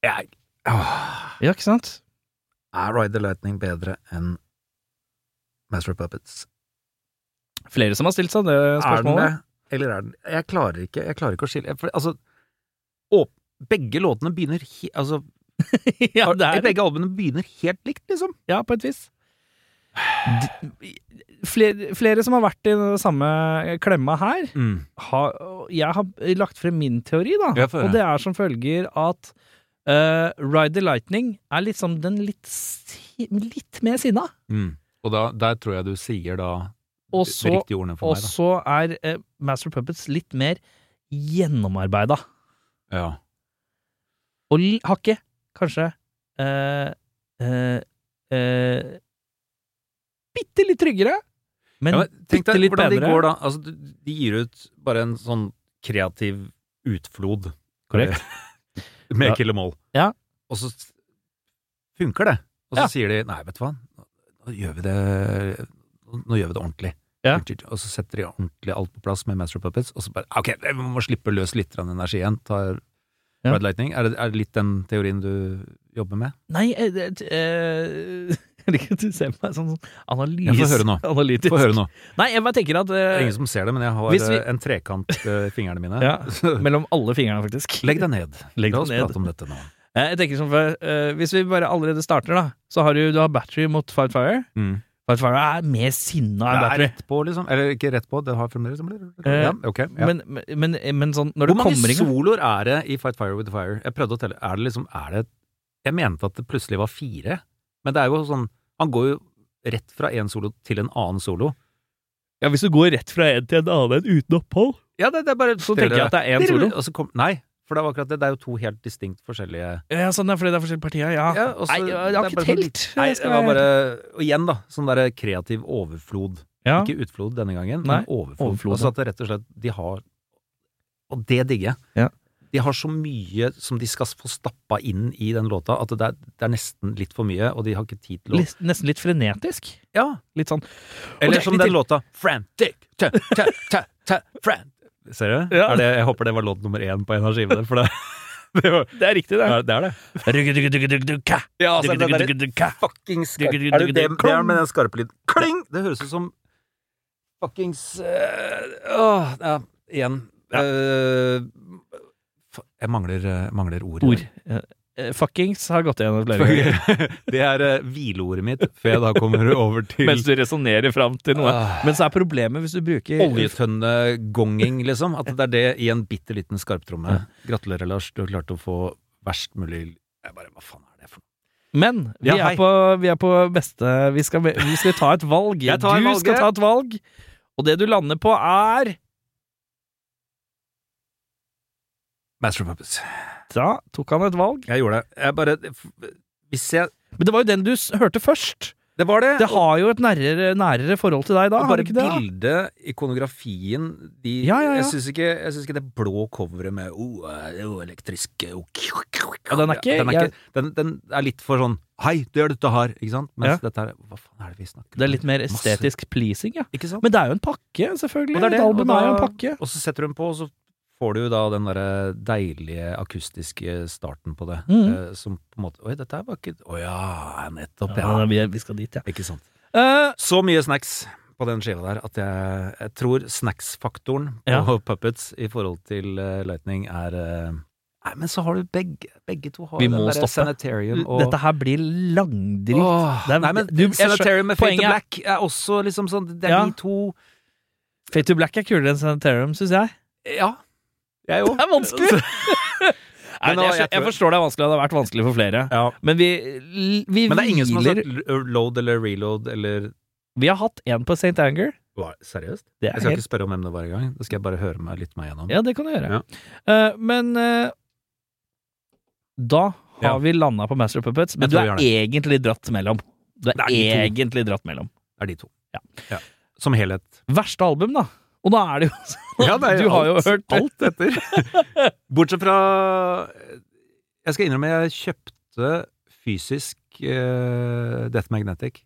S2: Jeg
S1: Ja, ikke sant?
S2: Er Ride the Lightning bedre enn Master of Puppets?
S1: Flere som har stilt seg det spørsmålet.
S2: eller er den Jeg klarer ikke, jeg klarer ikke å skille for, Altså, å, begge låtene begynner he, altså,
S1: ja, det er
S2: Begge albumene begynner helt likt, liksom.
S1: Ja, på et vis. Flere, flere som har vært i den samme klemma her,
S2: Mm,
S1: har, jeg har lagt frem min teori, da.
S2: Ja, få høre.
S1: og det er som følger at eh, Ride the Lightning er liksom den litt, si- litt mer sinna.
S2: Mm. Og da, der tror jeg du sier da
S1: Og
S2: de
S1: så,
S2: riktige ordene for
S1: og så er eh, Master of Puppets litt mer gjennomarbeida.
S2: meg, da. Ja.
S1: Og l- har ikke kanskje eh, eh, eh, Bitte litt tryggere, men,
S2: Ja, men tenk deg
S1: bitte litt
S2: hvordan
S1: bedre.
S2: de går da. Altså, du- de gir ut bare en sånn kreativ utflod.
S1: Korrekt.
S2: Med
S1: Ja.
S2: Killer Moll.
S1: Ja.
S2: Og så s- funker det. Og så
S1: Ja.
S2: sier de nei, vet du hva, nå, nå gjør vi det Nå gjør vi det ordentlig.
S1: Ja.
S2: Og så setter de ordentlig alt på plass med Master of Puppets, og så bare ok, vi må slippe løs litt grann energi igjen. Tar
S1: Ja.
S2: Red Lightning. Er det, er det litt den teorien du jobber med?
S1: Nei, eh, det- eh, jeg liker at du ser på meg sånn analyse,
S2: Ja, få høre nå.
S1: analytisk.
S2: Få høre nå.
S1: Nei, jeg bare tenker at
S2: Det er
S1: eh,
S2: ingen som ser det, men jeg har
S1: Hvis vi-
S2: eh, en trekant eh, i fingrene mine.
S1: Ja.
S2: Så-
S1: Mellom alle fingrene, faktisk.
S2: Legg deg ned.
S1: Legg deg
S2: La oss
S1: ned.
S2: prate om dette nå.
S1: Eh, Jeg tenker som før, eh, Hvis vi bare allerede starter, da, så har du, du har Battery mot Fight Fire. Fight Fire er mer sinna enn
S2: Det er
S1: Battery.
S2: rett på, liksom. Eller ikke rett på, det har fremdeles
S1: Eh,
S2: ja, ok, ja.
S1: Men, men, men sånn, når det
S2: Hvor mange
S1: kommer i gang
S2: soloer er det i Fight Fire with Fire? Jeg prøvde å telle. Er det liksom er det, Jeg mente at det plutselig var fire, men det er jo sånn Han går jo rett fra én solo til en annen solo.
S1: Ja, Hvis du går rett fra en til en annen uten opphold,
S2: Ja, det, det er bare
S1: så tenker jeg at det er én solo.
S2: Og så kom, nei, for det var akkurat det. Det er jo to helt distinkt forskjellige
S1: Ja, sånn er fordi det er forskjellige partier, ja.
S2: Ja, og så-
S1: Ah, Nei, jeg
S2: det er
S1: har ikke
S2: bare sånn-
S1: telt.
S2: Nei,
S1: Jeg
S2: det
S1: skal
S2: var
S1: være-
S2: bare Og igjen, da. Sånn derre kreativ overflod.
S1: ja.
S2: Ikke utflod denne gangen,
S1: Nei,
S2: men overflod.
S1: overflod,
S2: Altså at det rett og slett de har Og det digger jeg.
S1: Ja.
S2: De har så mye som de skal få stappa inn i den låta, at det er, det er nesten litt for mye, og de har ikke tid til å
S1: Litt- Nesten litt frenetisk.
S2: Ja.
S1: Litt sånn
S2: Eller
S1: Ok,
S2: som
S1: litt
S2: den
S1: til.
S2: låta Frantic, tø, tø, tø, tø, fran- Ser du?
S1: Ja.
S2: Er det, jeg håper det var låt nummer én på en av skivene, for det, det, var,
S1: Det er riktig, det.
S2: det er det. Er det.
S1: Ruggeduggeduggeduggedugga.
S2: Ja,
S1: Ruggeduggeduggeduggedugga.
S2: fuckings
S1: Er det det- det er med
S2: den skarpe lyden? Kling! Det høres ut som fuckings øh, Åh, ja, igjen. Øh, fa- jeg mangler, øh, mangler ord.
S1: Ord. Eh, Fuckings har gått igjen flere ganger.
S2: det er øh, hvileordet mitt før jeg da kommer over til
S1: Mens du resonnerer fram til noe.
S2: Ah.
S1: Men så er problemet hvis du bruker
S2: oljetønnegonging, liksom. At det er det i en bitte liten skarptromme. Gratulerer, Lars. Du har klart å få verst mulig Jeg bare, Hva faen er det for noe?
S1: Men vi,
S2: Ja, hei.
S1: er, på, vi er på beste vi skal, vi skal ta et valg.
S2: Jeg
S1: du
S2: tar valget.
S1: skal ta et valg. Og det du lander på, er
S2: Master of Puppets.
S1: Da tok han et valg.
S2: Jeg gjorde det. Jeg bare Hvis jeg
S1: Men det var jo den du s hørte først.
S2: Det var det!
S1: Det har jo et nærere, nærere forhold til deg da. Har
S2: Og bare
S1: det ikke det? da?
S2: bildet, ikonografien de,
S1: Ja, ja, ja.
S2: Jeg syns ikke, jeg synes ikke det blå coveret med oh, eh, oh, elektrisk eh, oh, kju, kju, kju.
S1: Ja, den er ikke-
S2: den, er
S1: jeg-
S2: ikke den, den er litt for sånn Hei, det er dette her! Ikke sant? Mens
S1: Ja.
S2: dette her Hva faen er det vi snakker om?
S1: Det er litt mer
S2: Masse-
S1: estetisk pleasing, ja.
S2: Ikke sant?
S1: Men det er jo en pakke, selvfølgelig.
S2: Og det er det,
S1: Et album
S2: og da-
S1: er jo en pakke.
S2: og så setter du den på, og så får du jo da den derre deilige akustiske starten på det.
S1: Mhm.
S2: eh, som på en måte Oi, dette her var ikke Å ja, nettopp, ja.
S1: Ja, vi, vi skal dit, ja.
S2: Ikke sant.
S1: Eh,
S2: Så mye snacks på den skiva der at jeg, jeg tror snacksfaktoren på
S1: Ja.
S2: Puppets i forhold til eh, Lightning er eh, Nei, men så har du begge Begge to har
S1: Vi
S2: den
S1: må
S2: derre
S1: stoppe.
S2: Sanitarium og
S1: Dette her blir langdritt.
S2: Åh,
S1: Det er-
S2: nei, men
S1: du- jeg skjø-
S2: Sanitarium med Fate
S1: poenget
S2: to
S1: er-
S2: Black er også liksom sånn Det er
S1: Ja.
S2: de to
S1: Fate to Black er kulere enn Sanitarium, syns jeg.
S2: Ja. Jeg òg.
S1: Det er vanskelig! Nei,
S2: Men nå,
S1: jeg,
S2: jeg
S1: skjø- jeg forstår det er vanskelig, og det har vært vanskelig for flere.
S2: Ja.
S1: Men vi, vi
S2: Men det er ingen som har
S1: hviler
S2: sagt l- load eller reload eller
S1: Vi har hatt én på St. Anger.
S2: Hva, Seriøst?
S1: Det
S2: Jeg
S1: er
S2: skal
S1: helt
S2: ikke spørre om emnet hver gang. Det skal jeg bare høre meg litt meg gjennom.
S1: Ja, det kan du gjøre. Eh, men eh, da har
S2: Ja.
S1: vi landa på Master of Puppets, men
S2: Jeg
S1: du
S2: tror
S1: er
S2: vi
S1: egentlig dratt mellom. Du er
S2: Det er de to.
S1: egentlig dratt mellom.
S2: Det er de to.
S1: Ja.
S2: Som helhet.
S1: Verste album, da. Og da er det jo sånn
S2: Ja, det er
S1: Du har jo
S2: alt-
S1: hørt
S2: alt etter. Bortsett fra Jeg skal innrømme, jeg kjøpte fysisk eh, Death Magnetic.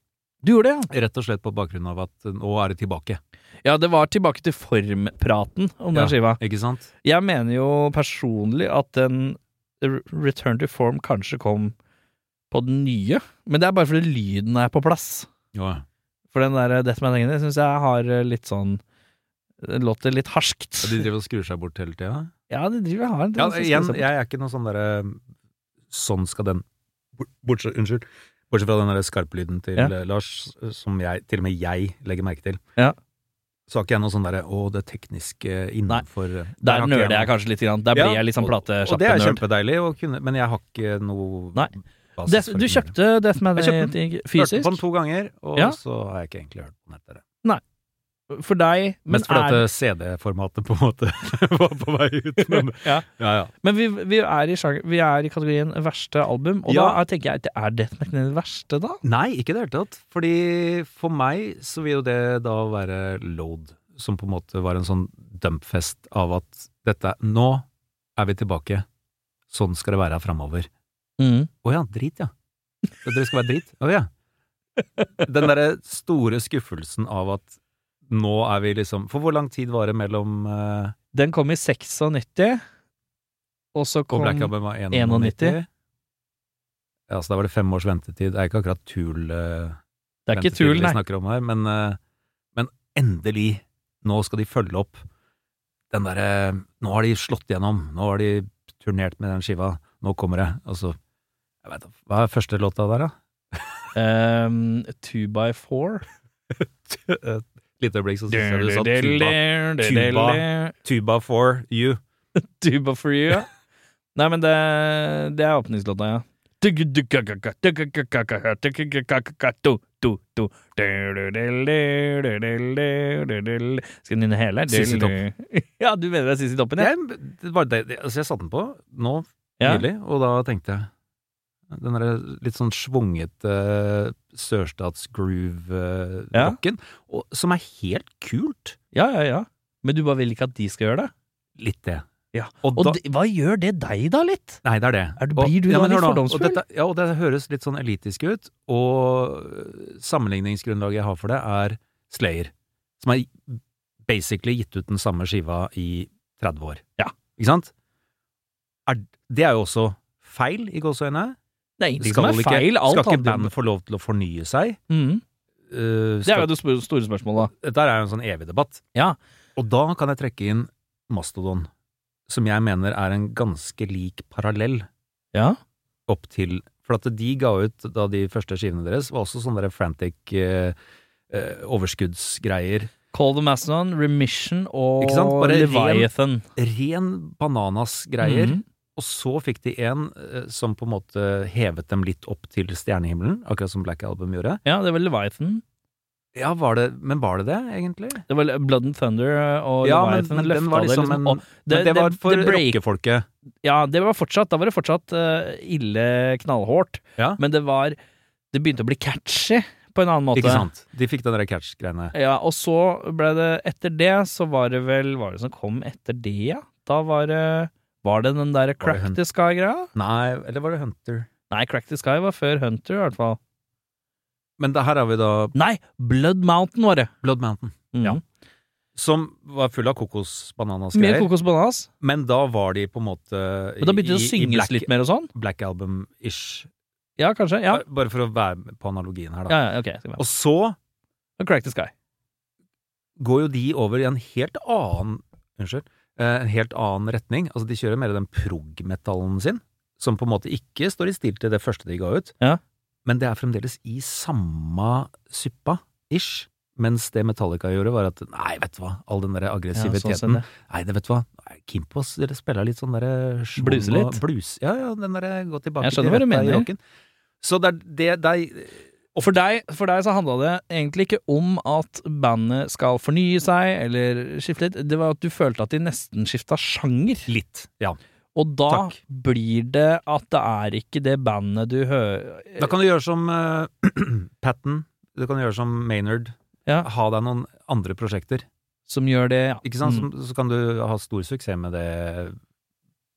S1: Du gjorde det,
S2: Rett og slett på bakgrunn av at nå er det tilbake,
S1: ja? Ja, det var tilbake til formpraten om den
S2: Ja.
S1: skiva.
S2: ikke sant?
S1: Jeg mener jo personlig at den R- Return to Form kanskje kom på den nye, men det er bare fordi lyden er på plass.
S2: Jo. ja.
S1: For den der Death Man Hanging, syns jeg har eh, litt sånn Den låter litt harskt.
S2: Og de driver og skrur seg bort hele tida?
S1: Ja, det driver har en sånn
S2: Ja,
S1: tendens til å
S2: igjen,
S1: spise opp.
S2: jeg er ikke noe sånn derre Sånn skal den bort- Bortsett, Unnskyld. Bortsett fra den derre skarplyden til
S1: Ja.
S2: eh, Lars, som jeg, til og med jeg legger merke til.
S1: Ja.
S2: Så har ikke jeg noe sånn derre Å, det tekniske innenfor eh,
S1: Der nøler jeg kanskje litt, grann. der
S2: Ja,
S1: blir jeg litt sånn
S2: Og det er
S1: platesjappe-nerd.
S2: kjempedeilig å kunne Men jeg har ikke noe
S1: Nei.
S2: basis
S1: Death- Du
S2: for å kunne gjøre det.
S1: kjøpte Death Man
S2: Jeg kjøpte
S1: Hanging
S2: Hørte på den
S1: fysisk
S2: to ganger, og
S1: Ja.
S2: så har jeg ikke egentlig hørt på den etter det.
S1: for deg, men,
S2: Mest fordi
S1: er,
S2: at CD-formatet på en måte var på vei ut. Men,
S1: Ja.
S2: ja, ja.
S1: men vi, vi, er i sjanger, vi er i kategorien verste album, og
S2: Ja.
S1: da er- tenker jeg at det er Death Man Hanging det verste, da?
S2: Nei, ikke i det hele tatt. Fordi for meg så vil jo det da være load, som på en måte var en sånn dumpfest av at dette Nå er vi tilbake. Sånn skal det være framover. Å ja, drit, ja. At dere skal være drit? Å ja. Den derre store skuffelsen av at nå er vi liksom For hvor lang tid var det mellom eh,
S1: Den kom i 96, og så
S2: Og
S1: kom
S2: Black Album var 91?
S1: 91.
S2: Ja, så da var det fem års ventetid. Det er ikke akkurat tul... eh,
S1: Det er ikke
S2: ventetid
S1: tull,
S2: vi
S1: nei.
S2: snakker om her, men, eh, men endelig, nå skal de følge opp den derre Nå har de slått gjennom, nå har de turnert med den skiva, nå kommer det. Og så jeg vet, da, Hva er første låta der, da?
S1: Ehm, Two by four.
S2: Et lite øyeblikk, så synes jeg du sa Tuba,
S1: Tuba.
S2: tuba for you.
S1: Tuba for you, ja. Nei, men det, det er åpningslåta, ja. Skal jeg nynne hele?
S2: Sissy Topp.
S1: Ja, du mener det er Sissy Toppen, ja?
S2: Jeg, det var det, det- altså jeg satte den på nå
S1: ja.
S2: nylig, og da tenkte jeg den der litt sånn svungete uh,
S1: Ja.
S2: sørstatsgroove-rocken, som er helt kult.
S1: Ja, ja, ja. Men du bare vil ikke at de skal gjøre det?
S2: Litt det.
S1: Ja.
S2: Og,
S1: Og
S2: da,
S1: de, hva gjør det deg, da, litt?
S2: nei, det er det.
S1: Er du- blir du da
S2: men
S1: litt
S2: hør nå,
S1: fordomsfull?
S2: Og dette, ja, og det høres litt sånn elitisk ut, og øh, sammenligningsgrunnlaget jeg har for det, er Slayer, som har basically gitt ut den samme skiva i 30 år.
S1: Ja.
S2: Ikke sant? Er, det er jo også feil, i gåseøynene.
S1: Det er ingenting som
S2: Skal,
S1: er
S2: ikke-
S1: feil. Alt
S2: skal ikke Mm.
S1: handler om-
S2: bandet få lov til å fornye seg?
S1: Mhm.
S2: Uh,
S1: Det er
S2: skal,
S1: jo det sp- store spørsmålet, da.
S2: Dette er jo en sånn evig debatt.
S1: Ja.
S2: Og da kan jeg trekke inn Mastodon, som jeg mener er en ganske lik parallell
S1: Ja.
S2: opp til For at de ga ut, da de første skivene deres, var også sånne der frantic eh, eh, overskuddsgreier.
S1: Call the Mastodon, Remission og
S2: Ikke sant? Bare ren-
S1: Leviathan.
S2: Ren bananas-greier.
S1: Mhm.
S2: Og så fikk de en eh, som på en måte hevet dem litt opp til stjernehimmelen, akkurat som Black Album gjorde.
S1: Ja, det var Leviathan.
S2: Ja, var det, Men var det det, egentlig?
S1: Det var Le- Blood and Thunder og
S2: ja, men,
S1: Leviathan
S2: men den
S1: løfta
S2: var liksom
S1: det
S2: en
S1: liksom opp.
S2: Men det var for
S1: break-
S2: rockefolket.
S1: Ja, det var fortsatt, da var det fortsatt eh, ille knallhårt,
S2: Ja.
S1: men det var Det begynte å bli catchy på en annen måte.
S2: Ikke sant? De fikk den der catch-greiene.
S1: Ja, og så ble det Etter det så var det vel Hva var det som kom etter det, ja? Da var det Var det den derre
S2: Var det
S1: Crack
S2: hun-
S1: the Sky-greia?
S2: Nei, eller var det Hunter?
S1: Nei, Crack the Sky var før Hunter, i hvert fall.
S2: Men det her har vi da
S1: Nei, Blood Mountain var det!
S2: Blood Mountain,
S1: Mm.
S2: Ja. som var full av kokosbananasgreier.
S1: Mye kokos bananas.
S2: Men da var de på en måte i-
S1: Men da begynte det å
S2: i- i
S1: synges
S2: black,
S1: litt mer og sånn?
S2: Black Album-ish.
S1: Ja, kanskje? Ja,
S2: Bare- Bare for å være med på analogien her, da.
S1: ja, ja ok. jeg skal være med.
S2: Og så
S1: Og Crack the Sky.
S2: går jo de over i en helt annen Unnskyld. eh, en helt annen retning. Altså, de kjører mer den prog-metallen sin, som på en måte ikke står i stil til det første de ga ut.
S1: Ja.
S2: Men det er fremdeles i samme suppa, ish. Mens det Metallica gjorde, var at nei, vet du hva, all den der
S1: Ja, sånn
S2: aggressiviteten
S1: sett det.
S2: Nei, det vet du hva, Nei, Kimpos dere spiller litt sånn derre schwung
S1: Bluse litt?
S2: og Blues. Ja, ja, den derre gå tilbake
S1: Jeg skjønner hva du
S2: røtta i
S1: mener.
S2: rocken. Så det er det, det er,
S1: Og for deg, for deg så handla det egentlig ikke om at bandet skal fornye seg eller skifte litt, det var at du følte at de nesten skifta sjanger. Litt,
S2: ja.
S1: Og da
S2: Takk.
S1: blir det at det er ikke det bandet du hører
S2: Da kan du gjøre som eh, Patton, du kan gjøre som Maynard.
S1: Ja.
S2: Ha deg noen andre prosjekter,
S1: som gjør det. Ja.
S2: ikke sant?
S1: Mm.
S2: Som, så kan du ha stor suksess med det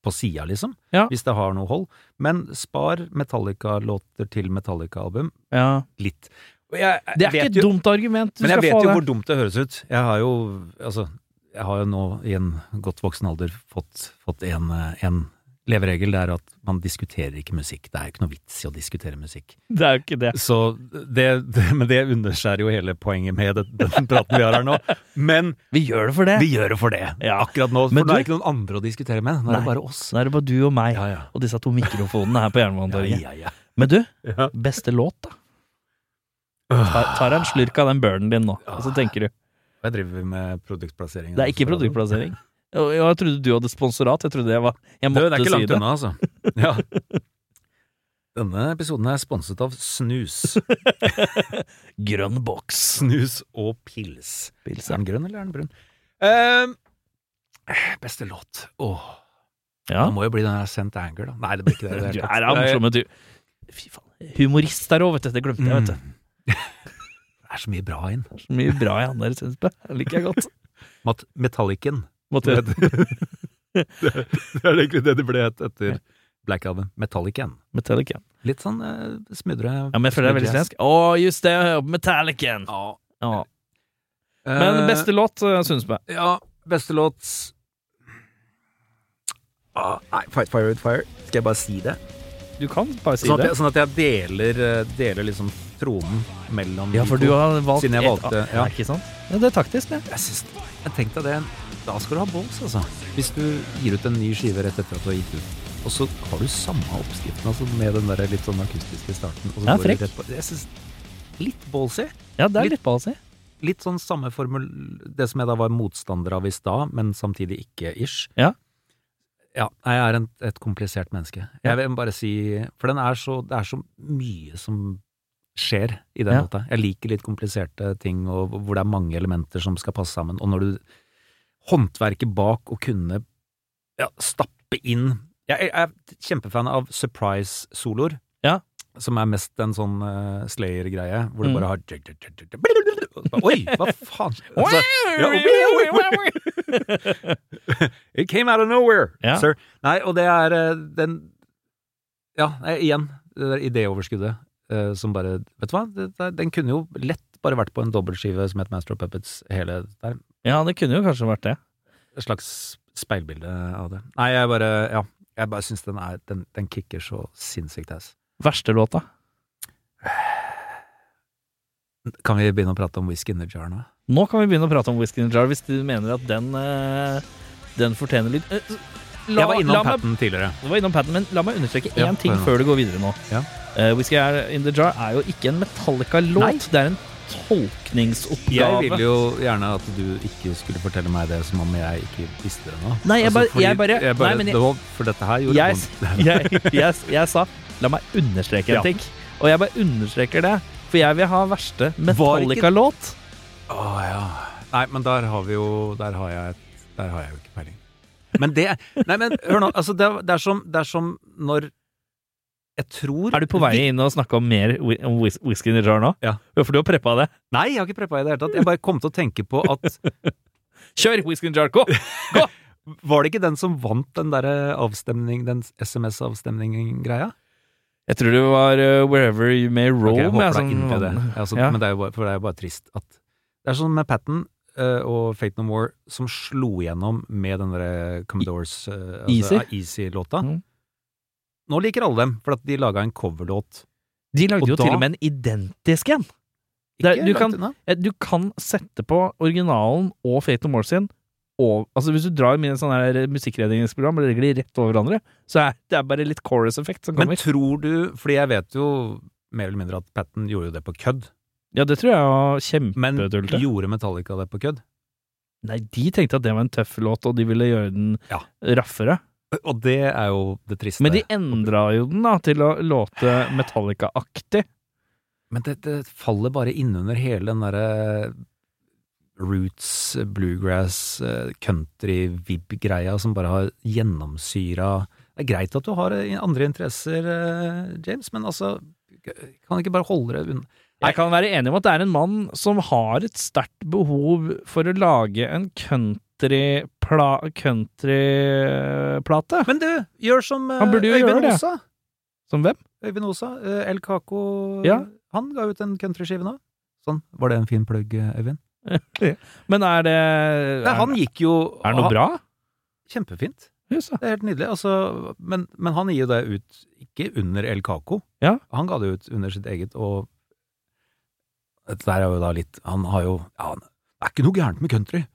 S2: på sida, liksom.
S1: Ja.
S2: Hvis det har noe hold. Men spar Metallica-låter til Metallica-album
S1: ja.
S2: litt. Og jeg- jeg
S1: Det er
S2: vet
S1: ikke
S2: jo-
S1: et dumt argument. Du
S2: Men jeg
S1: skal
S2: vet
S1: få
S2: jo
S1: det.
S2: hvor dumt det høres ut. Jeg har jo, altså, jeg har jo nå i en godt voksen alder fått, fått en, eh, en leveregel, det er at man diskuterer ikke musikk. Det er jo ikke noe vits i å diskutere musikk.
S1: Det er jo ikke det.
S2: Så det, det, men det underskjærer jo hele poenget med det, den praten vi har her nå. Men
S1: Vi gjør det for det.
S2: vi gjør det for det
S1: Ja.
S2: akkurat nå, for
S1: Men
S2: nå
S1: du-
S2: er det ikke noen andre å diskutere med. Nå er det
S1: Nei.
S2: bare oss.
S1: Så er det bare du og meg
S2: Ja, ja.
S1: og disse to mikrofonene her på Jernbanetorget.
S2: Ja, ja,
S1: Men du,
S2: ja.
S1: beste låt, da? Tar, tar en slurk av den burnen din nå, og så tenker du
S2: Jeg driver med produktplassering.
S1: Det er ikke produktplassering. Og Jeg trodde du hadde sponsorat. Jeg trodde jeg var Jeg
S2: Du,
S1: måtte
S2: det er ikke
S1: si
S2: langt
S1: det.
S2: unna, altså. Ja. Denne episoden er sponset av snus.
S1: Grønn boks.
S2: Snus og pils.
S1: Pils,
S2: Er
S1: ja.
S2: den grønn, eller er den brun? Ehm, beste låt Åh,
S1: Ja.
S2: Det må jo bli den der Sent Anger, da. Nei, det blir ikke det. i det
S1: Du
S2: hele
S1: er
S2: tatt.
S1: da morsom, men du Fy faen. Humorist der òg, vet du. Det glemte jeg, vet
S2: Mm.
S1: du.
S2: Det er så mye bra inn.
S1: Så mye bra i han der, syns jeg. Det liker jeg godt.
S2: Mat Metallicen.
S1: Måtte
S2: Det
S1: jeg-
S2: det er egentlig det det ble hett etter Black Album. Metallicen.
S1: Metallica.
S2: Litt sånn eh, smudre
S1: Ja, men jeg føler det er veldig
S2: smudre jazz.
S1: svensk. Å, just det! jeg hører på Metallica!
S2: Ja.
S1: Ja. Men
S2: Eh,
S1: beste låt, eh, Sundsbø.
S2: Ja, beste låt ah, Nei, Fight Fire With Fire. Skal jeg bare si det?
S1: Du kan bare si
S2: Sånn at
S1: det.
S2: jeg, sånn at jeg deler, eh, deler liksom tronen mellom
S1: Ja,
S2: de
S1: for
S2: to.
S1: du har valgt
S2: Siden jeg
S1: et-
S2: valgte, ja.
S1: ja. Ikke sant? Ja, det er taktisk, det.
S2: Jeg, syns- jeg tenkte det. Da skal du ha balls, altså. Hvis du gir ut en ny skive rett etter at du har gitt ut, og så har du samme oppskriften altså med den der litt sånn akustiske starten. Og så
S1: Ja,
S2: går du
S1: frekk.
S2: rett på. Jeg syns litt ballsy.
S1: Ja, det er
S2: Litt-
S1: litt ballsy.
S2: Litt sånn samme formel Det som jeg da var motstander av i stad, men samtidig ikke ish.
S1: Ja.
S2: Ja, nei, jeg er en, et komplisert menneske. Jeg vil bare si For den er så, det er så mye som skjer i den
S1: Ja.
S2: låta. Jeg liker litt kompliserte ting, og hvor det er mange elementer som skal passe sammen. Og når du håndverket bak å kunne ja, stappe inn Jeg er er kjempefan av surprise-soloer.
S1: Ja.
S2: Som er mest en sånn eh, Slayer-greie, hvor du
S1: Mm.
S2: bare har Oi, hva faen? Altså, It came out of nowhere,
S1: Ja.
S2: sir. Nei, og det er eh, den Ja, nei, igjen, det der idéoverskuddet eh, som bare Vet du hva, det, det, den kunne jo lett bare vært på en dobbeltskive som het Master of Puppets, hele der.
S1: Ja, det kunne jo kanskje vært det.
S2: Et slags speilbilde av det. Nei, jeg bare Ja. Jeg bare syns den er Den, den kicker så sinnssykt ass.
S1: Verste låta.
S2: Kan vi begynne å prate om whisky in the jar nå?
S1: Nå kan vi begynne å prate om Whisky in a Jar hvis du mener at den, eh, den fortjener litt Eh, la,
S2: jeg var
S1: la
S2: innom
S1: meg-
S2: Patten tidligere.
S1: Du var innom Patton, men la meg understreke
S2: Ja,
S1: én ting
S2: gjør det.
S1: før du går videre nå.
S2: Ja.
S1: Eh, Whisky in the Jar er jo ikke en
S2: Nei.
S1: Metallica-låt. Det er en tolkningsoppgave.
S2: Jeg ville jo gjerne at du ikke skulle fortelle meg det som om jeg ikke visste det nå. Altså,
S1: Nei, jeg bare-
S2: fordi-
S1: jeg bare- nei, men jeg-
S2: det var, For dette her gjorde
S1: Jeg-
S2: vondt.
S1: jeg, jeg, jeg sa La meg understreke en
S2: Ja.
S1: ting. Og jeg bare understreker det, for jeg vil ha verste Metallica-låt.
S2: Å, ja. Nei, men der har vi jo Der har jeg, et- der har jeg jo ikke peiling. Men det Nei, men hør nå. Altså, det, er- det, er som, det er som når Jeg tror
S1: Er du på vei inn og snakke om mer wi- om whis- Whisky in a Jar nå?
S2: Ja.
S1: For du har preppa det.
S2: Nei, jeg har ikke preppa i det hele tatt. Jeg bare kom til å tenke på at
S1: Kjør Whisky in a Jar, gå!
S2: Var det ikke den som vant den derre avstemning, den SMS-avstemning-greia?
S1: Jeg tror det var uh, Wherever You May Roam.
S2: Ok, jeg håper
S1: jeg,
S2: det er
S1: som
S2: inn til det.
S1: vant.
S2: Altså,
S1: Ja.
S2: Men det er jo bare, for det er jo bare trist at Det er sånn med Patten og Fate No More som slo gjennom med den derre Commodores eh,
S1: Easy?
S2: ja, Easy-låta.
S1: Mm.
S2: Nå liker alle dem, for at de laga en coverlåt.
S1: De lagde
S2: Og
S1: jo
S2: da-
S1: til og med en identisk en. Det er-
S2: Ikke
S1: Eh, du
S2: langt
S1: kan-
S2: unna.
S1: Eh, Du kan sette på originalen og Fate No More sin, over Altså Hvis du drar med en sånn her musikkredningsprogram, og legger de rett over hverandre, så er det er bare litt chorus-effekt som
S2: Men
S1: kommer.
S2: tror du Fordi jeg vet jo mer eller mindre at Patten gjorde jo det på kødd.
S1: ja, det tror jeg var
S2: Men
S1: kjempetullete.
S2: gjorde Metallica det på kødd?
S1: Nei, de tenkte at det var en tøff låt, og de ville gjøre den
S2: Ja.
S1: raffere.
S2: Og det er jo det triste.
S1: Men de endra jo den da til å låte Metallica-aktig.
S2: Men det, det faller bare innunder hele den derre roots, bluegrass, eh, country-vib-greia som bare har gjennomsyra Det er greit at du har eh, andre interesser, eh, James, men altså Kan ikke bare holde det unna?
S1: Jeg kan være enig om at det er en mann som har et sterkt behov for å lage en countryplate. Country plate.
S2: Men du, gjør som eh,
S1: Han burde jo gjøre
S2: Øyvind
S1: det.
S2: Osa.
S1: som hvem?
S2: Øyvind Osa, eh, El Caco
S1: Ja.
S2: Han ga ut en countryskive nå. Sånn. Var det en fin plugg, eh, Øyvind?
S1: Men er det
S2: Nei, han gikk jo
S1: er, er det noe bra?
S2: Kjempefint.
S1: Jøss, ja.
S2: Det er helt nydelig. Altså, men, men han gir jo det ut ikke under El Caco.
S1: Ja.
S2: Han ga det ut under sitt eget, og dette der er jo da litt Han har jo ja, han, Det er ikke noe gærent med country.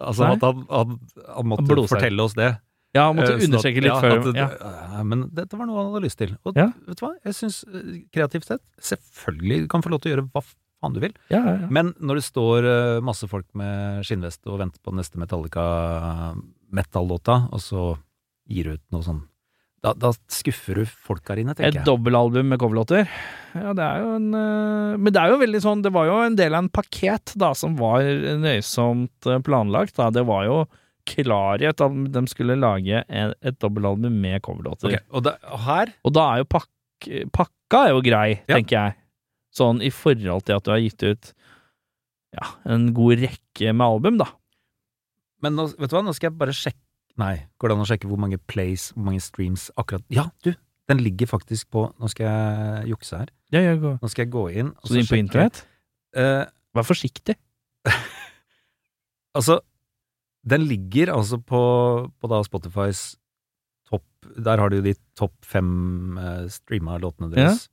S2: Altså
S1: Nei.
S2: at han, han, han måtte
S1: Han blåser.
S2: fortelle oss det.
S1: ja, han måtte
S2: eh, sånn at-
S1: understreke litt
S2: ja,
S1: før.
S2: at det-
S1: ja.
S2: eh, Men dette var noe han hadde lyst til. Og
S1: Ja.
S2: vet du hva, jeg syns eh, kreativt sett, selvfølgelig du kan få lov til å gjøre hva faen du vil.
S1: Ja, ja, ja.
S2: Men når det står eh, masse folk med skinnvest og venter på neste Metallica-metallåta, og så gir du ut noe sånn da, da skuffer du folk her inne,
S1: Et
S2: tenker jeg.
S1: dobbeltalbum med coverlåter. Ja, det er jo en eh, Men det er jo veldig sånn Det var jo en del av en pakket da som var nøysomt eh, planlagt. da Det var jo klarhet at de skulle lage en, et dobbeltalbum med coverlåter.
S2: Ok, og da, og her
S1: Og da er jo pakk, pakka er jo grei,
S2: Ja.
S1: tenker jeg. Sånn i forhold til at du har gitt ut ja, en god rekke med album, da.
S2: Men nå, vet du hva, nå skal jeg bare sjekke Nei, går det an å sjekke hvor mange plays, hvor mange streams akkurat Ja, du! Den ligger faktisk på Nå skal jeg jukse her.
S1: Ja, ja, gå.
S2: Nå skal jeg gå inn og
S1: Så du er inne på
S2: sjekke.
S1: internett?
S2: Eh,
S1: Vær forsiktig.
S2: Altså, den ligger altså på, på da Spotifys topp Der har du jo de topp fem eh, streama låtene deres.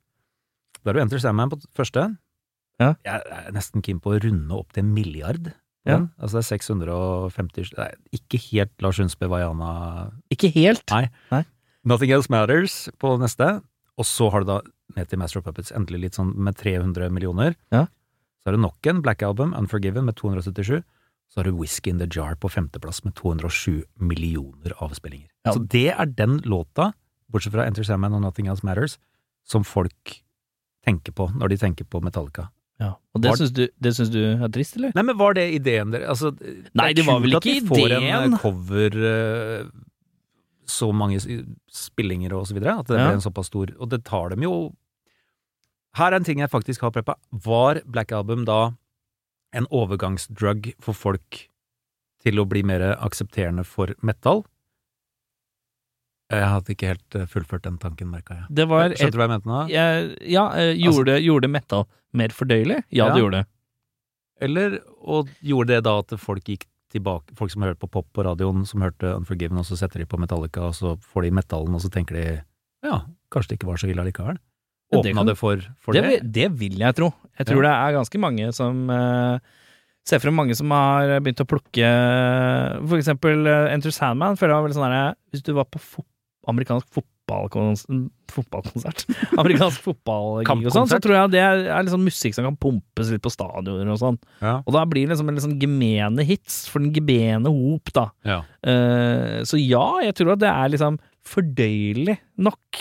S2: Da har du Enter Sandman på t- første.
S1: Ja.
S2: Jeg er nesten keen på å runde opp til en milliard. på
S1: Ja.
S2: den. Altså det er 650 Nei, ikke helt Lars Hundsbø Vaiana
S1: Ikke helt.
S2: Nei.
S1: Nei.
S2: Nothing Else Matters på neste. Og så har du da ned til Master of Puppets, endelig litt sånn med 300 millioner.
S1: Ja.
S2: Så har du nok en Black Album, Unforgiven, med 277. Så har du Whisky in the Jar på femteplass med 207 millioner avspillinger.
S1: Ja.
S2: Så det er den låta, bortsett fra Enter Sandman og Nothing Else Matters, som folk tenker på når de tenker på Metallica.
S1: Ja. Og det
S2: Var-
S1: syns, du, det syns du er trist, eller?
S2: Nei, men var det ideen dere altså, det
S1: Nei,
S2: er
S1: det var
S2: kult
S1: vel
S2: at vi
S1: ikke
S2: får en
S1: ideen.
S2: eh, cover eh, Så mange s- spillinger og så videre. At det
S1: Ja.
S2: ble en såpass stor Og det tar dem jo Her er en ting jeg faktisk har preppa. Var Black Album da en overgangsdrug for folk til å bli mer aksepterende for metal? Jeg hadde ikke helt eh, fullført den tanken, merka jeg.
S1: Det var
S2: Skjønte
S1: et
S2: du hva jeg mente nå?
S1: jeg, Ja, eh, gjorde, gjorde metal mer fordøyelig? Ja, det
S2: Ja.
S1: gjorde det.
S2: Eller og gjorde det da at folk gikk tilbake Folk som hørte på pop på radioen, som hørte Unforgiven, og så setter de på Metallica, og så får de metallen, og så tenker de ja, kanskje det ikke var så ille likevel.
S1: Ja, det
S2: Åpna
S1: kan-
S2: det for, for
S1: Det,
S2: det?
S1: vil- det vil jeg tro. Jeg tror det er ganske mange som eh, Ser frem mange som har begynt å plukke For eksempel eh, Enter Sandman føler jeg var veldig sånn derre Hvis du var på fo amerikansk fotballkons fotballkonsert Amerikansk fotballgig og sånn, så
S2: Kampkonsert.
S1: tror jeg det er, er liksom musikk som kan pumpes litt på stadioner og sånn.
S2: Ja.
S1: Og da blir det liksom en litt sånn gemene hits for den gemene hop, da.
S2: Ja.
S1: Eh, så ja, jeg tror at det er liksom fordøyelig nok.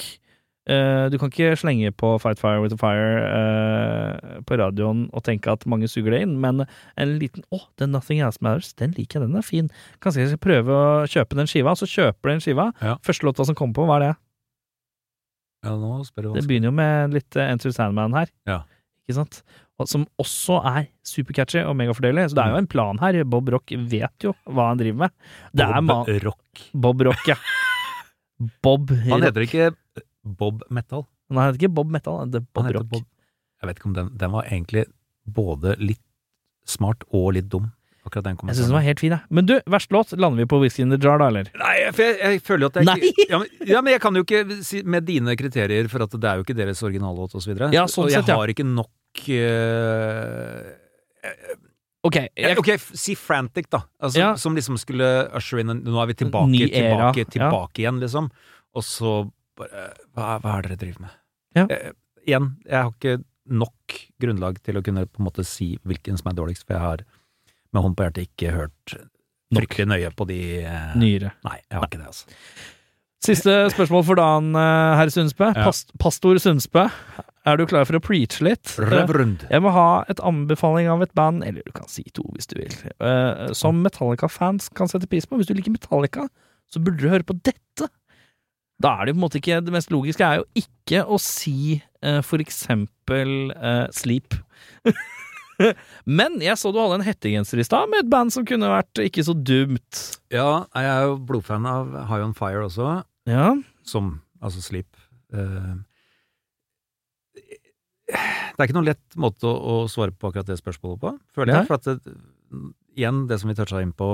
S1: Eh, du kan ikke slenge på Fight Fire With A Fire eh, på radioen og tenke at mange suger det inn, men en liten Å, den Nothing Else Matters, den liker jeg, den er fin. Kanskje jeg skal prøve å kjøpe den skiva? Så kjøper du den skiva.
S2: Ja.
S1: Første låta som kommer på, hva er det?
S2: ja, nå spør du
S1: Det
S2: vanskelig.
S1: begynner jo med litt eh, Enter Sandman her.
S2: Ja.
S1: Ikke sant? Og som også er supercatchy og megafordøyelig. Så det er jo en plan her. Bob Rock vet jo hva han driver med. Det er man
S2: Bob Rock.
S1: Bob Rock, ja. Bob
S2: Han
S1: Rock.
S2: heter ikke eh, Bob Metal.
S1: Nei, han heter ikke Bob Metal, han heter Bob
S2: Han heter
S1: Rock.
S2: Bob Jeg vet ikke om den Den var egentlig både litt smart og litt dum, akkurat
S1: Jeg
S2: den
S1: syns den
S2: kommentaren.
S1: var helt fin, jeg. Men du, verste låt lander vi på Whisky in the Jar, da, eller?
S2: Nei, for jeg, jeg føler jo at jeg
S1: Nei!
S2: ikke ja men, ja, men jeg kan jo ikke si med dine kriterier, for at det er jo ikke deres originallåt og så videre.
S1: Ja, sånn
S2: og jeg
S1: sett, ja.
S2: har ikke nok eh, eh,
S1: Ok, jeg,
S2: Ok, f- si Frantic, da. Altså,
S1: Ja.
S2: Som liksom skulle usher in en- Nå er vi tilbake,
S1: Ny era,
S2: tilbake,
S1: ja.
S2: tilbake igjen, liksom. Og så bare Hva, hva er det dere driver med?
S1: Ja.
S2: Eh, igjen, jeg har ikke nok grunnlag til å kunne på en måte si hvilken som er dårligst, for jeg har med hånd på hjertet ikke hørt
S1: Nok.
S2: fryktelig nøye på de eh,
S1: nyere.
S2: Nei, jeg har ikke det, altså.
S1: Siste spørsmål for dagen, eh, herr Sundsbø.
S2: Ja.
S1: Past, pastor Sundsbø, er du klar for å preache litt?
S2: Reverend.
S1: Jeg må ha et anbefaling av et band, eller du kan si to hvis du vil, eh, som Metallica-fans kan sette pris på. Hvis du liker Metallica, så burde du høre på dette. Da er det jo på en måte ikke Det mest logiske er jo ikke å si eh, for eksempel eh, Sleep. Men jeg så du hadde en hettegenser i stad med et band som kunne vært ikke så dumt.
S2: Ja, jeg er jo blodfan av High On Fire også.
S1: Ja,
S2: som altså sleep. Eh, det er ikke noen lett måte å, å svare på akkurat det spørsmålet på, føler
S1: Nei.
S2: jeg. For at det, igjen, det som vi toucha inn på,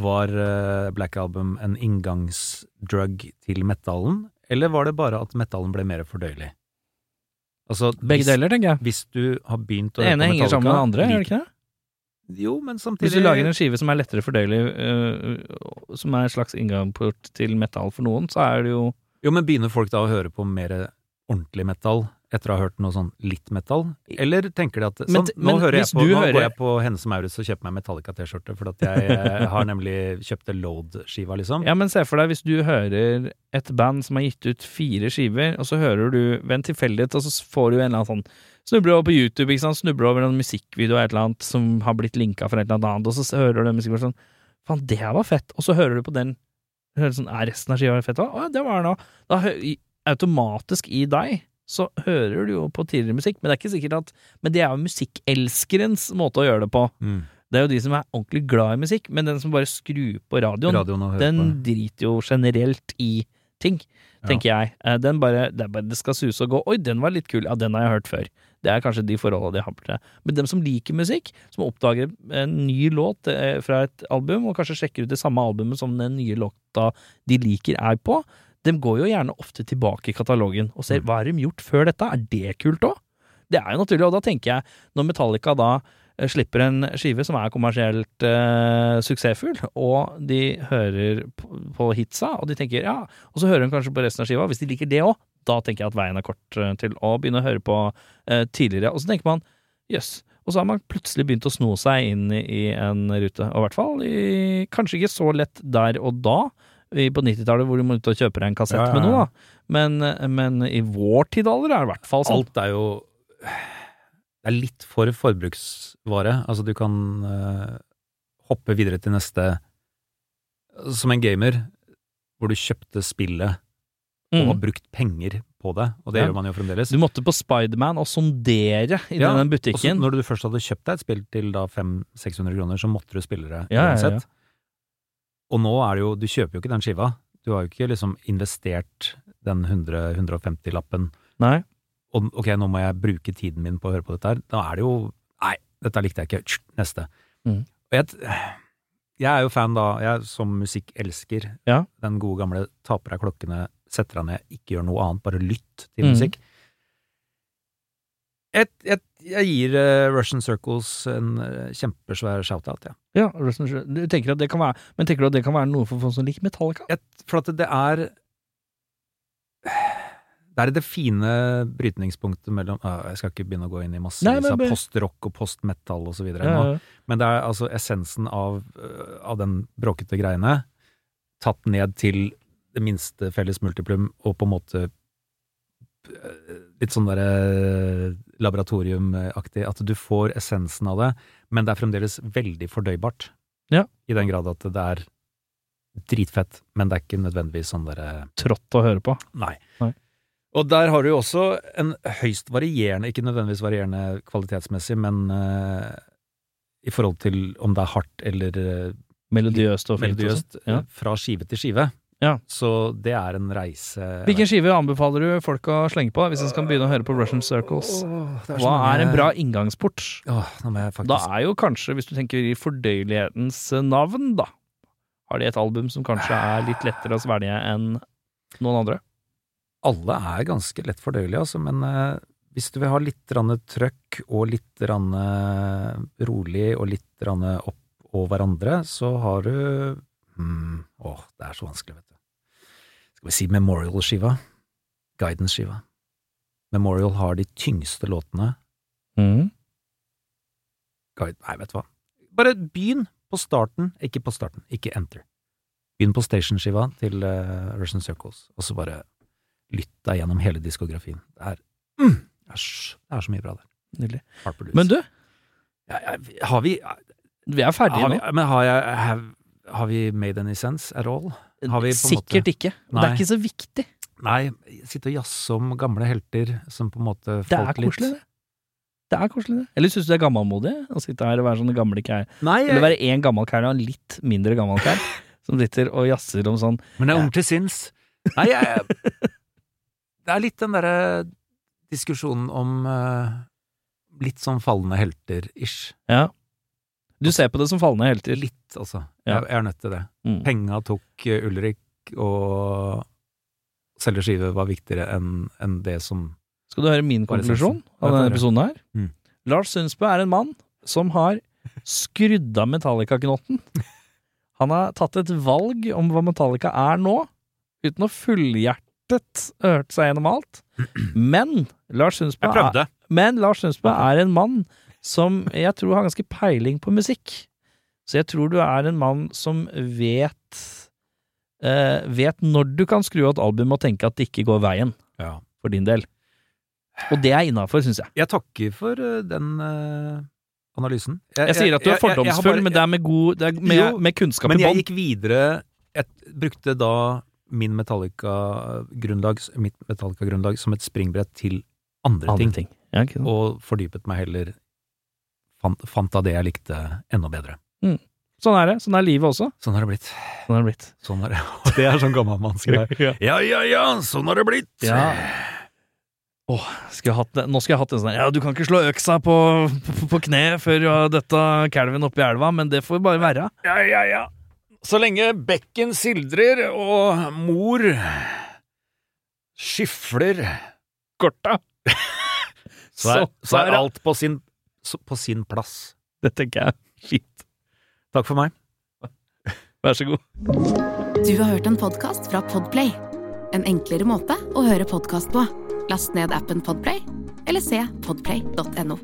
S2: var eh, Black Album en inngangsdrug til metallen, eller var det bare at metallen ble mer fordøyelig? Altså,
S1: Begge
S2: hvis,
S1: deler, tenker jeg.
S2: Hvis du har begynt å
S1: Det ene henger sammen med det andre, gjør det ikke det?
S2: det? Jo, men samtidig
S1: Hvis du lager en skive som er lettere fordøyelig, øh, som er en slags inngangsport til metall for noen, så er det jo
S2: Jo, men begynner folk da å høre på mer ordentlig metal etter å ha hørt noe sånn litt metal? Eller tenker de at sånn,
S1: Men t-
S2: nå,
S1: men
S2: hører jeg
S1: hvis
S2: på,
S1: du
S2: nå
S1: hører-
S2: går jeg på Hennes og Maurits og kjøper meg Metallica-T-skjorte, for at jeg eh, har nemlig kjøpt Load-skiva, liksom.
S1: Ja, men se for deg hvis du hører et band som har gitt ut fire skiver, og så hører du ved en tilfeldighet, og så får du en eller annen sånn Snubler over på YouTube, ikke sant? snubler over en musikkvideo av et eller annet som har blitt linka fra et eller annet annet, og så s- hører du den musikkvideoen sånn Faen, det her var fett! Og så hører du på den hører du sånn, Er resten av skiva fett? Å, ja, det var den òg. Da hø i- automatisk i deg så hører du jo på tidligere musikk, men det er ikke sikkert at Men det er jo musikkselskerens måte å gjøre det på.
S2: Mm.
S1: Det er jo de som er ordentlig glad i musikk, men den som bare skrur på radioen,
S2: Radioen å høre
S1: den
S2: på.
S1: driter jo generelt i ting, tenker jeg. Eh, Den bare, det, er bare, det skal suse og gå. Oi, den var litt kul. Ja, den har jeg hørt før. Det er kanskje de forholda de har på det. Men dem som liker musikk, som oppdager en ny låt eh, fra et album, og kanskje sjekker ut det samme albumet som den nye låta de liker er på, dem går jo gjerne ofte tilbake i katalogen og
S2: Mm.
S1: ser hva har de gjort før dette. Er det kult òg? Det er jo naturlig, og da tenker jeg, når Metallica da eh, slipper en skive som er kommersielt eh, suksessfull, og de hører på, på hitsa, og de tenker ja, og så hører de kanskje på resten av skiva, hvis de liker det òg, da tenker jeg at veien er kort eh, til å begynne å høre på eh, tidligere. Og så tenker man jøss. Og så har man plutselig begynt å sno seg inn i- i en rute, og i hvert fall i, kanskje ikke så lett der og da, i- på 90-tallet hvor du må ut og kjøpe deg en kassett
S2: Ja, ja,
S1: med noe,
S2: ja.
S1: da. Men, eh, men i vår tid alder er det i hvert fall sånn.
S2: Alt er jo Det er litt for forbruksvare. Altså, du kan eh, hoppe videre til neste Som en gamer, hvor du kjøpte spillet og har
S1: Mm.
S2: brukt penger på det, og det
S1: Ja.
S2: gjør man jo fremdeles.
S1: Du måtte på Spiderman og sondere i
S2: Ja,
S1: denne
S2: Og så
S1: butikken.
S2: når du først hadde kjøpt deg et spill til da 500-600 kroner, så måtte du spille det
S1: Ja, ja, ja.
S2: uansett. Og nå er det jo, du kjøper jo ikke den skiva. Du har jo ikke liksom investert den 100-150-lappen.
S1: Nei.
S2: Og ok, nå må jeg bruke tiden min på å høre på dette her. Da er det jo, nei, dette likte jeg ikke, Tsk, neste.
S1: Mm.
S2: Og jeg, t- jeg er jo fan da, jeg som musikkelsker,
S1: Ja.
S2: den gode gamle ta på deg klokkene, setter deg ned, ikke gjør noe annet, bare lytt til
S1: Mm.
S2: musikk. Jeg, jeg, jeg gir eh, Russian Circles en eh, kjempesvær shout-out, ja.
S1: Ja, Russian Shore. Du tenker at det kan være, men tenker du at det kan være noe for folk som liker Metallica?
S2: jeg. For at det er det er det fine brytningspunktet mellom Å, Jeg skal ikke begynne å gå inn i masse
S1: Nei, men
S2: av
S1: bare-
S2: post-rock og post-metal og så videre. nå.
S1: Ja, ja.
S2: Men det er altså essensen av, øh, av den bråkete greiene tatt ned til det minste felles multiplum, og på en måte øh, litt sånn derre laboratoriumaktig. At du får essensen av det, men det er fremdeles veldig fordøybart.
S1: Ja.
S2: I den grad at det er dritfett, men det er ikke nødvendigvis sånn derre
S1: Trått å høre på.
S2: Nei.
S1: Nei.
S2: Og der har du jo også en høyst varierende, ikke nødvendigvis varierende kvalitetsmessig, men eh, i forhold til om det er hardt eller eh,
S1: Melodiøst og fint. og sånn.
S2: melodiøst,
S1: Ja.
S2: eh, fra skive til skive.
S1: Ja.
S2: Så det er en reise
S1: Hvilken skive anbefaler du folk å slenge på hvis de skal begynne å høre på Russian Circles?
S2: Åh, det så
S1: Hva
S2: mange-
S1: er en bra inngangsport?
S2: Åh, nå må jeg faktisk
S1: Da er jo kanskje, hvis du tenker i fordøyelighetens navn, da Har de et album som kanskje er litt lettere å svelge enn noen andre?
S2: alle er ganske lett fordøyelige, altså, men eh, Hvis du vil ha litt grann trøkk og litt grann eh, rolig og litt grann opp og hverandre, så har du mm, Åh, det er så vanskelig, vet du. Skal vi si Memorial-skiva? Guidance-skiva. Memorial har de tyngste låtene.
S1: Mm.
S2: Guide, nei, vet du hva. Bare begynn på starten, ikke på starten, ikke enter. Begynn på station-skiva til eh, Russian Circles, og så bare lytt deg gjennom hele diskografien. Det er, mm, det er, s- det er så mye bra der.
S1: Nydelig.
S2: Harper Blues.
S1: Men du,
S2: ja, ja, vi- har vi,
S1: vi er ferdige
S2: har vi
S1: nå.
S2: Men har, jeg, have, har vi made any sense at all? Har vi på en måte-
S1: Sikkert ikke. Det
S2: Nei.
S1: er ikke så viktig.
S2: Nei, sitte og jazze om gamle helter som på en måte
S1: Det
S2: falt
S1: er
S2: litt.
S1: koselig, det. Det er koselig, det. Eller syns du det er gammelmodig å sitte her og være sånne gamle kær?
S2: Nei,
S1: Eller
S2: jeg,
S1: være én gammel kær og en litt mindre gammel kær som sitter og jazzer om sånn
S2: men det er ung til sinns. Nei, jeg Det er litt den derre diskusjonen om eh, litt sånn fallende helter-ish.
S1: Du ser på det som fallende helter.
S2: Litt, altså.
S1: Ja.
S2: Jeg, jeg er nødt til det.
S1: Mm.
S2: Penga tok eh, Ulrik, og selge skive var viktigere enn enn det som
S1: Skal du høre min
S2: Bare
S1: konklusjon
S2: satsen.
S1: av
S2: Ja,
S1: denne
S2: bare.
S1: episoden her?
S2: Mm.
S1: Lars Sundsbø er en mann som har skrudd av Metallica-knotten. Han har tatt et valg om hva Metallica er nå, uten å fullhjertet ha hørt seg gjennom alt. Men Lars Sundsbø er men Lars Sønsbø er en mann som jeg tror har ganske peiling på musikk. Så jeg tror du er en mann som vet eh, Vet når du kan skru av et album og tenke at det ikke går veien,
S2: Ja.
S1: for din del. Og det er innafor, syns jeg.
S2: Jeg takker for eh, den eh, analysen.
S1: Jeg sier at du er fordomsfull, men det er med, god, det er med,
S2: Jo,
S1: med kunnskap i
S2: Men jeg
S1: bånd.
S2: gikk videre Jeg brukte da min Metallica-grunnlag mitt Metallica-grunnlag som et springbrett til andre,
S1: Andre
S2: ting,
S1: ting. Ja, ikke sant.
S2: og fordypet meg heller fant, fant av det jeg likte, enda bedre.
S1: Sånn er det. Sånn er livet også.
S2: Sånn har det blitt.
S1: Sånn er det blitt.
S2: Sånn er det. Og det er sånn gammalmannsgreie. Ja, ja, ja, sånn har det blitt!
S1: Ja. Åh, skulle jeg hatt, det- nå skulle jeg hatt en sånn her, Ja, du kan ikke slå øksa på, på, på kne før du har døtta kalven oppi elva, men det får bare være.
S2: Ja, ja, ja. Så lenge bekken sildrer og mor skifler korta, så er, så er alt på sin, så- på sin plass.
S1: Det tenker jeg. er Fint.
S2: Takk for meg.
S1: Vær så god.
S3: Du har hørt en podkast fra Podplay. En enklere måte å høre podkast på. Last ned appen Podplay, eller se podplay.no.